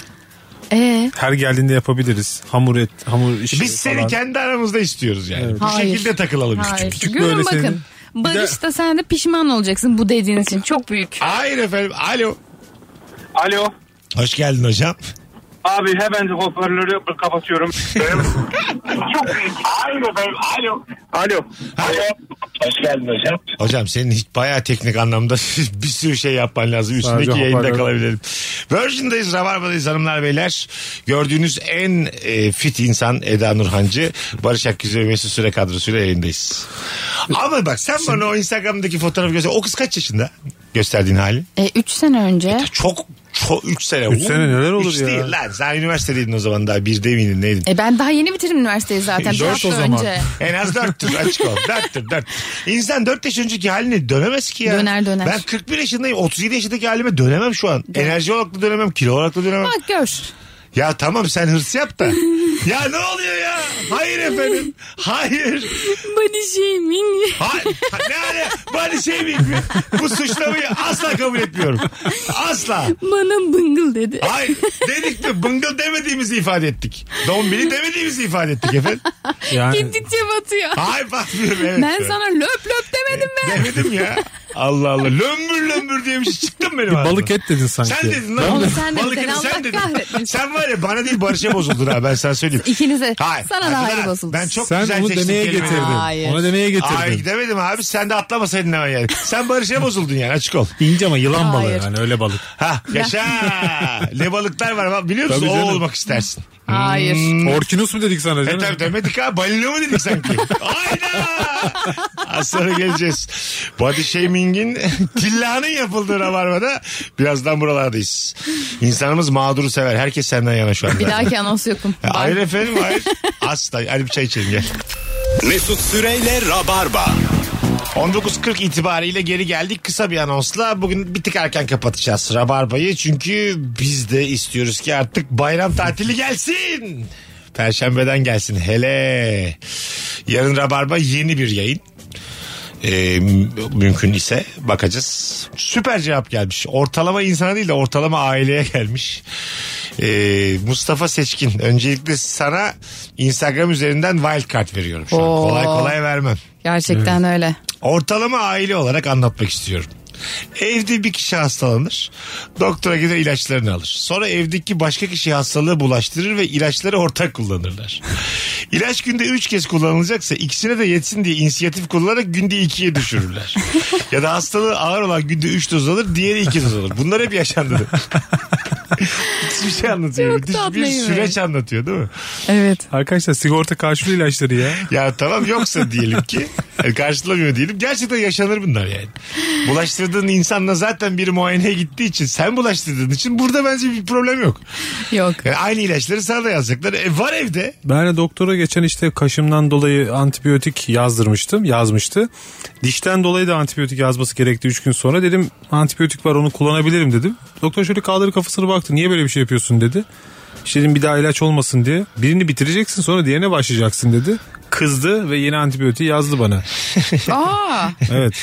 Ee, her geldiğinde yapabiliriz. Hamur et, hamur işi Biz seni Şey falan. kendi aramızda istiyoruz yani. Bu Hayır. şekilde takılalım. hayır. küçük Görün böyle bakın. senin- Bir de- Barış'ta sen de pişman olacaksın bu dediğin için. Çok büyük. Hayır efendim. Alo. Alo. Hoş geldin hocam. Abi hemen hoparlörü kapatıyorum. Çok büyük. Alo ben. Alo. Alo. Alo. Hoş geldin hocam. Hocam senin hiç bayağı teknik anlamda bir sürü şey yapman lazım. Üstündeki Sadece yayında hoparlör. kalabilirim. Virgin'dayız, Rabarba'dayız hanımlar beyler. Gördüğünüz en e, fit insan Eda Nurhancı. Barış Akgüzü ve Mesut Süre kadrosuyla yayındayız. Ama bak sen bana o Instagram'daki fotoğrafı göster. O kız kaç yaşında? Gösterdiğin hali. 3 E, sene önce. Çok çok 3 sene. Üç sene neler olur Üç ya? değil lan. Sen üniversitedeydin o zaman daha. Bir miydin neydin? E ben daha yeni bitirdim üniversiteyi zaten. Bir Dört hafta o zaman. önce. En az dörttür açık ol. Dörttür dört. İnsan dört yaş önceki haline dönemez ki ya. Döner, döner. Ben 41 yaşındayım. 37 yaşındaki halime dönemem şu an. Enerji olarak da dönemem. Kilo olarak da dönemem. Bak gör. Ya tamam sen hırs yap da. Ya ne oluyor ya? Hayır efendim. Hayır. Body shaming. Hayır. Ne hale? Body shaming mi? Bu suçlamayı asla kabul etmiyorum. Asla. Bana bıngıl dedi. Hayır dedik de bıngıl demediğimizi ifade ettik. Dombili demediğimizi ifade ettik efendim. Yani Gittikçe batıyor. Hayır bakmıyorum evet. Ben sana löp löp demedim mi? Demedim ya. Allah Allah. Lömbür lömbür diye bir şey çıktı mı benim ağzımdan? balık et dedin sanki. Sen dedin lan. Oğlum sen dedin, Balık seni eti Allah sen dedin. kahretsin. Sen var ya bana değil Barış'a bozuldun ha ben sana söyleyeyim. İkinize. Hayır. Sana da Hayır, ayrı bozuldu. Ben çok Sen güzel onu seçtim demeye kelimeyi. getirdin. Hayır. Onu demeye getirdin. Ay gidemedim abi sen de atlamasaydın hemen yani. Sen Barış'a bozuldun yani açık ol. İnce ama yılan balığı Hayır. yani öyle balık. Ha yaşa. ne balıklar var bak biliyor musun? Tabii O canım. olmak istersin. Hmm. Hayır. Orkinos Hmm. mu dedik sana E canım? tabii demedik ha balina mı dedik sanki? Hayda. Az sonra geleceğiz. Body shaming'in tillanın yapıldığı rabarbada birazdan buralardayız. İnsanımız mağduru sever. Herkes senden yana şu anda. Bir dahaki anons yokum. Ya Bye. E, Hayır efendim hayır. Asla. Hadi bir çay içelim gel. Mesut Süreyle Rabarba. 19.40 itibariyle geri geldik. Kısa bir anonsla bugün bir tık erken kapatacağız Rabarba'yı. Çünkü biz de istiyoruz ki artık bayram tatili gelsin. Perşembeden gelsin hele. Yarın Rabarba yeni bir yayın. Ee, mü- mümkün ise bakacağız. Süper cevap gelmiş. Ortalama insana değil de ortalama aileye gelmiş. Ee, Mustafa Seçkin öncelikle sana Instagram üzerinden wild card veriyorum şu an. Oo. Kolay kolay vermem. Gerçekten öyle. Ortalama aile olarak anlatmak istiyorum. Evde bir kişi hastalanır. Doktora gider ilaçlarını alır. Sonra evdeki başka kişiye hastalığı bulaştırır ve ilaçları ortak kullanırlar. İlaç günde 3 kez kullanılacaksa ikisine de yetsin diye inisiyatif kullanarak günde 2'ye düşürürler. ya da hastalığı ağır olan günde 3 doz alır, diğeri 2 doz alır. Bunlar hep yaşandı. Hiçbir şey anlatıyor. Çok Müthiş bir tatlıymış. süreç anlatıyor değil mi? Evet. Arkadaşlar sigorta karşılığı ilaçları ya. Ya tamam yoksa diyelim ki yani karşılamıyor diyelim. Gerçekten yaşanır bunlar yani. Bulaştırdığın insanla zaten biri muayeneye gittiği için sen bulaştırdığın için burada bence bir problem yok. Yok. Yani aynı ilaçları sana da yazacaklar. E, var evde. Ben de doktora geçen işte kaşımdan dolayı antibiyotik yazdırmıştım. Yazmıştı. Dişten dolayı da antibiyotik yazması gerekti 3 gün sonra. Dedim antibiyotik var onu kullanabilirim dedim. Doktor şöyle kaldırı kafasını baktı. Niye böyle bir şey yapıyorsun dedi. İşte dedim bir daha ilaç olmasın diye. Birini bitireceksin sonra diğerine başlayacaksın dedi. Kızdı ve yeni antibiyotiği yazdı bana. Şey- Aa, Evet.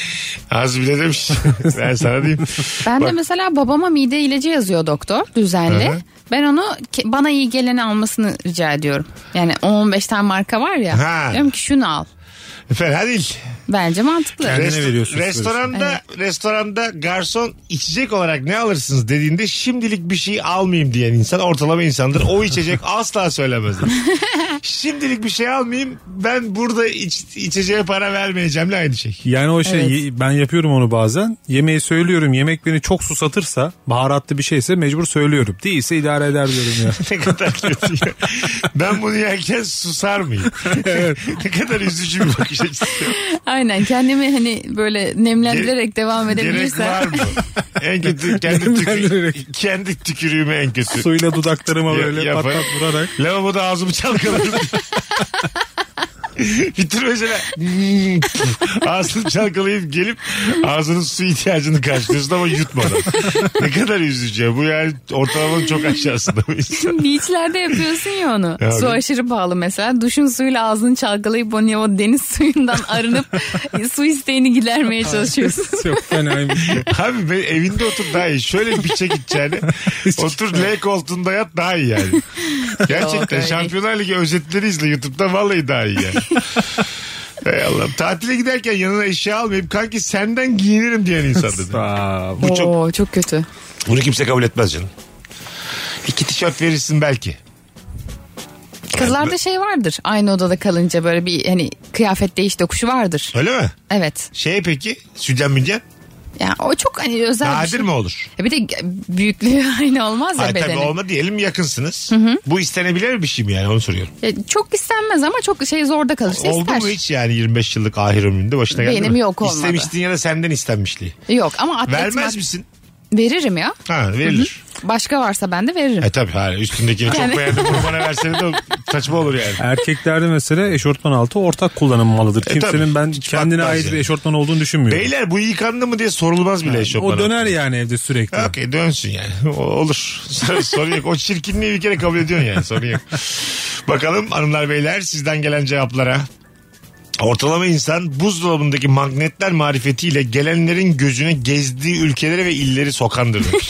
Az bile demiş. ben sana diyeyim. ben de Bak. mesela babama mide ilacı yazıyor doktor düzenli. Hı hı. Ben onu ke- bana iyi geleni almasını rica ediyorum. Yani 10-15 tane marka var ya. Ha. Diyorum ki şunu al. Fena değil. Bence mantıklı. Kendine veriyorsun Restoranda, restoranda garson içecek olarak ne alırsınız dediğinde şimdilik bir şey almayayım diyen insan ortalama insandır. O içecek asla söylemez. şimdilik bir şey almayayım ben burada iç, içeceğe para vermeyeceğimle aynı şey. Yani o şey Evet. ye- ben yapıyorum onu bazen. Yemeği söylüyorum. Yemek beni çok susatırsa, baharatlı bir şeyse mecbur söylüyorum. Değilse idare eder diyorum ya. ne kadar kötü ya. Ben bunu yerken susar mıyım? ne kadar üzücü bir bakış açısı. Aynen kendimi hani böyle nemlendirerek devam Gerek edebilirsem. var mı? En kötü kendi, tükür, Nemlendirerek. kendi tükürüğümü en kötü. Suyla dudaklarıma Ya- böyle yapar. patlat vurarak. Lavaboda ağzımı çalkaladım. Bitir mesela ağzını çalkalayıp gelip ağzının su ihtiyacını karşılıyorsun ama yutmadan. ne kadar üzücü ya. Bu yani ortalamanın çok aşağısında bu insan. Beachlerde yapıyorsun ya onu. Ya Su abi. aşırı pahalı mesela. Duşun suyuyla ağzını çalkalayıp onu ya o deniz suyundan arınıp e, su isteğini gidermeye çalışıyorsun. Çok fenaymış. Abi ben evinde otur daha iyi. Şöyle bir çek içeceğini. otur L koltuğunda yat daha iyi yani. Yok, Gerçekten öyle. Şampiyonlar Ligi özetleri izle YouTube'da vallahi daha iyi yani. Hey Allah'ım. Tatile giderken yanına eşya almayıp kanki senden giyinirim diyen insan dedi. Aa, Bu çok Oo, çok kötü. Bunu kimse kabul etmez canım. İki tişört verirsin belki. Kızlarda şey vardır. Aynı odada kalınca böyle bir hani kıyafet değiş dokuşu vardır. Öyle mi? Evet. Şey peki sütyen müncen Yani o çok hani özel bir nadir şey. mi olur? Bir de büyüklüğü aynı olmaz ya Ay, tabii bedeni. olma diyelim yakınsınız. Bu istenebilir bir şey mi yani onu soruyorum. Ya çok istenmez ama çok şey zorda kalırsa Oldu ister. mu hiç yani 25 yıllık ahir ömründe başına geldi Benim mi? yok olmadı. İstemiştin ya da senden istenmişliği. Yok ama atlet Vermez misin? veririm ya. Ha verilir. Başka varsa ben de veririm. E tabii hani üstündekini çok Yani- beğendim bunu bana versene de saçma olur yani. Erkeklerde mesela eşortman altı ortak kullanılmalıdır. Kimsenin E, tabii. ben Hiç kendine bakmaz ait yani. bir eşortman olduğunu düşünmüyorum. Beyler bu yıkandı mı diye sorulmaz bile eşofmana. o döner yani evde sürekli. Ha, Okey dönsün yani. O- olur. Sorun yok. O çirkinliği bir kere kabul ediyorsun yani. Sorun yok. Bakalım hanımlar beyler sizden gelen cevaplara. Ortalama insan buzdolabındaki magnetler marifetiyle gelenlerin gözüne gezdiği ülkelere ve illeri sokandır. demiş.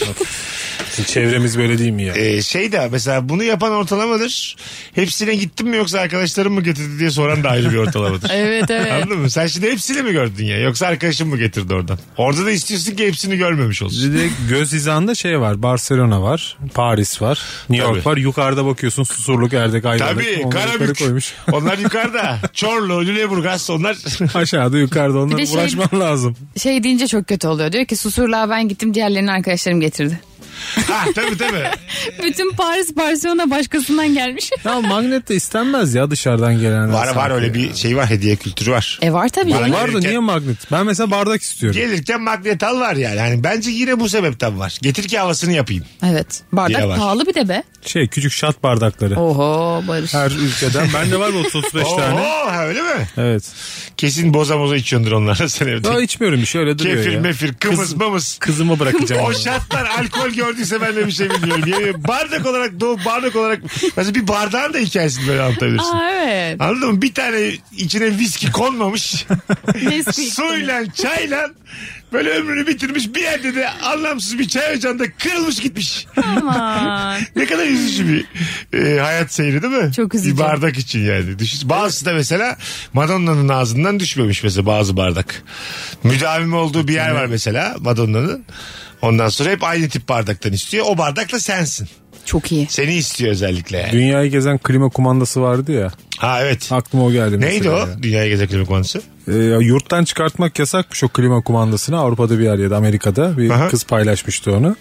Çevremiz böyle değil mi ya? Ee, şey de mesela bunu yapan ortalamadır. Hepsine gittim mi yoksa arkadaşlarım mı getirdi diye soran da ayrı bir ortalamadır. Evet evet. Anladın mı? Sen şimdi hepsini mi gördün ya? Yoksa arkadaşın mı getirdi oradan? Orada da istiyorsun ki hepsini görmemiş olsun. Bir de göz hizanda şey var. Barcelona var. Paris var. New York Tabii. var. Yukarıda bakıyorsun Susurluk, Erdek, Ayvalık. Tabii Onları yukarı Karabük. koymuş. Onlar yukarıda. Çorlu, Lüleburgaz onlar. Aşağıda yukarıda onlara Bir de şey- uğraşman lazım. Şey deyince çok kötü oluyor. Diyor ki susurluğa ben gittim diğerlerini arkadaşlarım getirdi. ha tabii tabii. Bütün Paris Barcelona başkasından gelmiş. Ya magnet de istenmez ya dışarıdan gelenler. Var var sanki ya. öyle bir şey var hediye kültürü var. E var tabii. Bana- canım. Var da niye magnet? Ben mesela bardak istiyorum. Gelirken magnet al var yani. Hani bence yine bu sebepten var. Getir ki havasını yapayım. Evet. Bardak Yine var. pahalı bir de be. Şey küçük şat bardakları. Oh. Oho Barış. Her ülkeden. Bende var bu 35 Oo, tane. ha, öyle mi? Evet. Kesin boza boza içiyordur onlar sen evde. Daha içmiyorum bir şey öyle duruyor Kefir ya. mefir kımız Kız- mımız. Kızımı bırakacağım. O onu. şartlar alkol gördüyse ben de bir şey bilmiyorum. Yani bardak olarak doğu bardak olarak mesela bir bardağın da hikayesini böyle anlatabilirsin. Aa evet. Anladın mı? Bir tane içine viski konmamış. Nesquik. suyla çayla böyle ömrünü bitirmiş bir yerde de anlamsız bir çay ocağında kırılmış gitmiş. Aman. Ne kadar üzücü bir e, hayat seyri değil mi? Çok üzücü. Bir bardak için yani. Düşün. Bazısı da mesela Madonna'nın ağzından düşmemiş mesela bazı bardak. Müdavim olduğu bir yer var mesela Madonna'nın. Ondan sonra hep aynı tip bardaktan istiyor. O bardak da sensin. Çok iyi. Seni istiyor özellikle yani. Dünyayı gezen klima kumandası vardı ya. Ha evet. Aklıma o geldi. Neydi mesela o? ya. Dünyaya gezek klinik konusu. Ee, ya yurttan çıkartmak yasakmış o klima kumandasını. Avrupa'da bir yer ya da Amerika'da bir Aha. kız paylaşmıştı onu.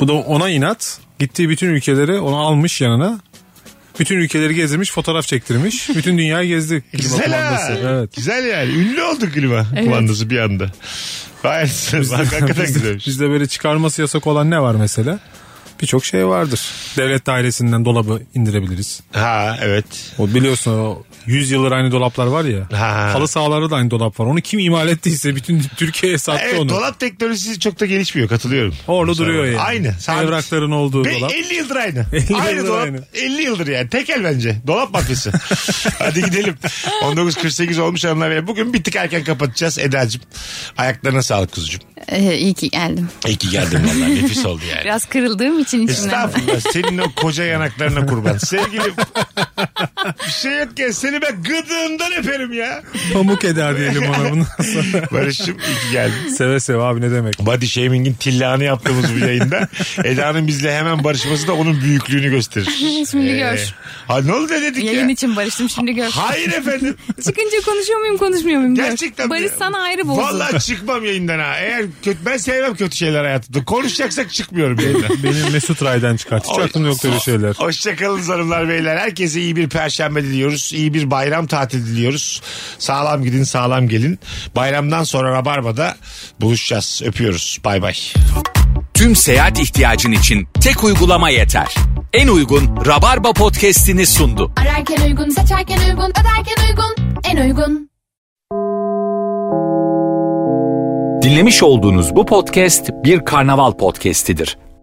Bu da ona inat. Gittiği bütün ülkeleri onu almış yanına. Bütün ülkeleri gezdirmiş, fotoğraf çektirmiş. Bütün dünyayı gezdi klima Güzel ha. kumandası. Evet. Güzel yani. Ünlü oldu klima kumandası bir anda. Gayet bak, hakikaten güzelmiş. Bizde böyle çıkarması yasak olan ne var mesela? Birçok şey vardır. Devlet dairesinden dolabı indirebiliriz. Ha evet. O biliyorsun o 100 yıldır aynı dolaplar var ya. Ha. Halı sahalarda da aynı dolap var. Onu kim imal ettiyse bütün Türkiye'ye sattı Evet onu. dolap teknolojisi çok da gelişmiyor katılıyorum. Orada Mesela. duruyor yani. Aynı. sabit. Evrakların olduğu Be- dolap. 50 yıldır aynı. 50 aynı yıldır dolap. aynı. 50 yıldır yani. Tekel bence. Dolap mafyası. Hadi gidelim. 19.48 olmuş hanımlar. beyler. Bugün bir tık erken kapatacağız. Eda'cığım. Ayaklarına sağlık kuzucuğum. Ee, iyi ki geldim. İyi ki geldin valla. Nefis oldu yani. Biraz kırıldığım için içimden. Estağfurullah senin o koca yanaklarına kurban. Sevgilim bir şey yok ya seni ben gıdığından öperim ya. Pamuk eder diyelim ona bundan sonra. Barış'ım iyi ki geldin. seve seve abi ne demek. Body shaming'in tillahını yaptığımız bu yayında Eda'nın bizle hemen barışması da onun büyüklüğünü gösterir. Ee, Şimdi gör. Ha ne oldu ne dedik Yayın ya? için barıştım şimdi gör. Hayır efendim. Çıkınca konuşuyor muyum konuşmuyor muyum? Gör. Gerçekten. Barış sana ayrı bozdu. Vallahi çıkmam yayından ha. Eğer kötü, ben sevmem kötü şeyler hayatımda. Konuşacaksak çıkmıyorum yayından. Benim Mesut Ray'dan çıkart. Hiç Oy. aklımda yok öyle şeyler. Hoşçakalın hanımlar beyler. Herkese iyi bir perşembe diliyoruz. İyi bir bayram tatili diliyoruz. Sağlam gidin sağlam gelin. Bayramdan sonra Rabarba'da buluşacağız. Öpüyoruz. Bay bay. Tüm seyahat ihtiyacın için tek uygulama yeter. En uygun Rabarba podcast'ini sundu. Ararken uygun, seçerken uygun, öderken uygun, en uygun. Dinlemiş olduğunuz bu podcast bir karnaval podcastidir.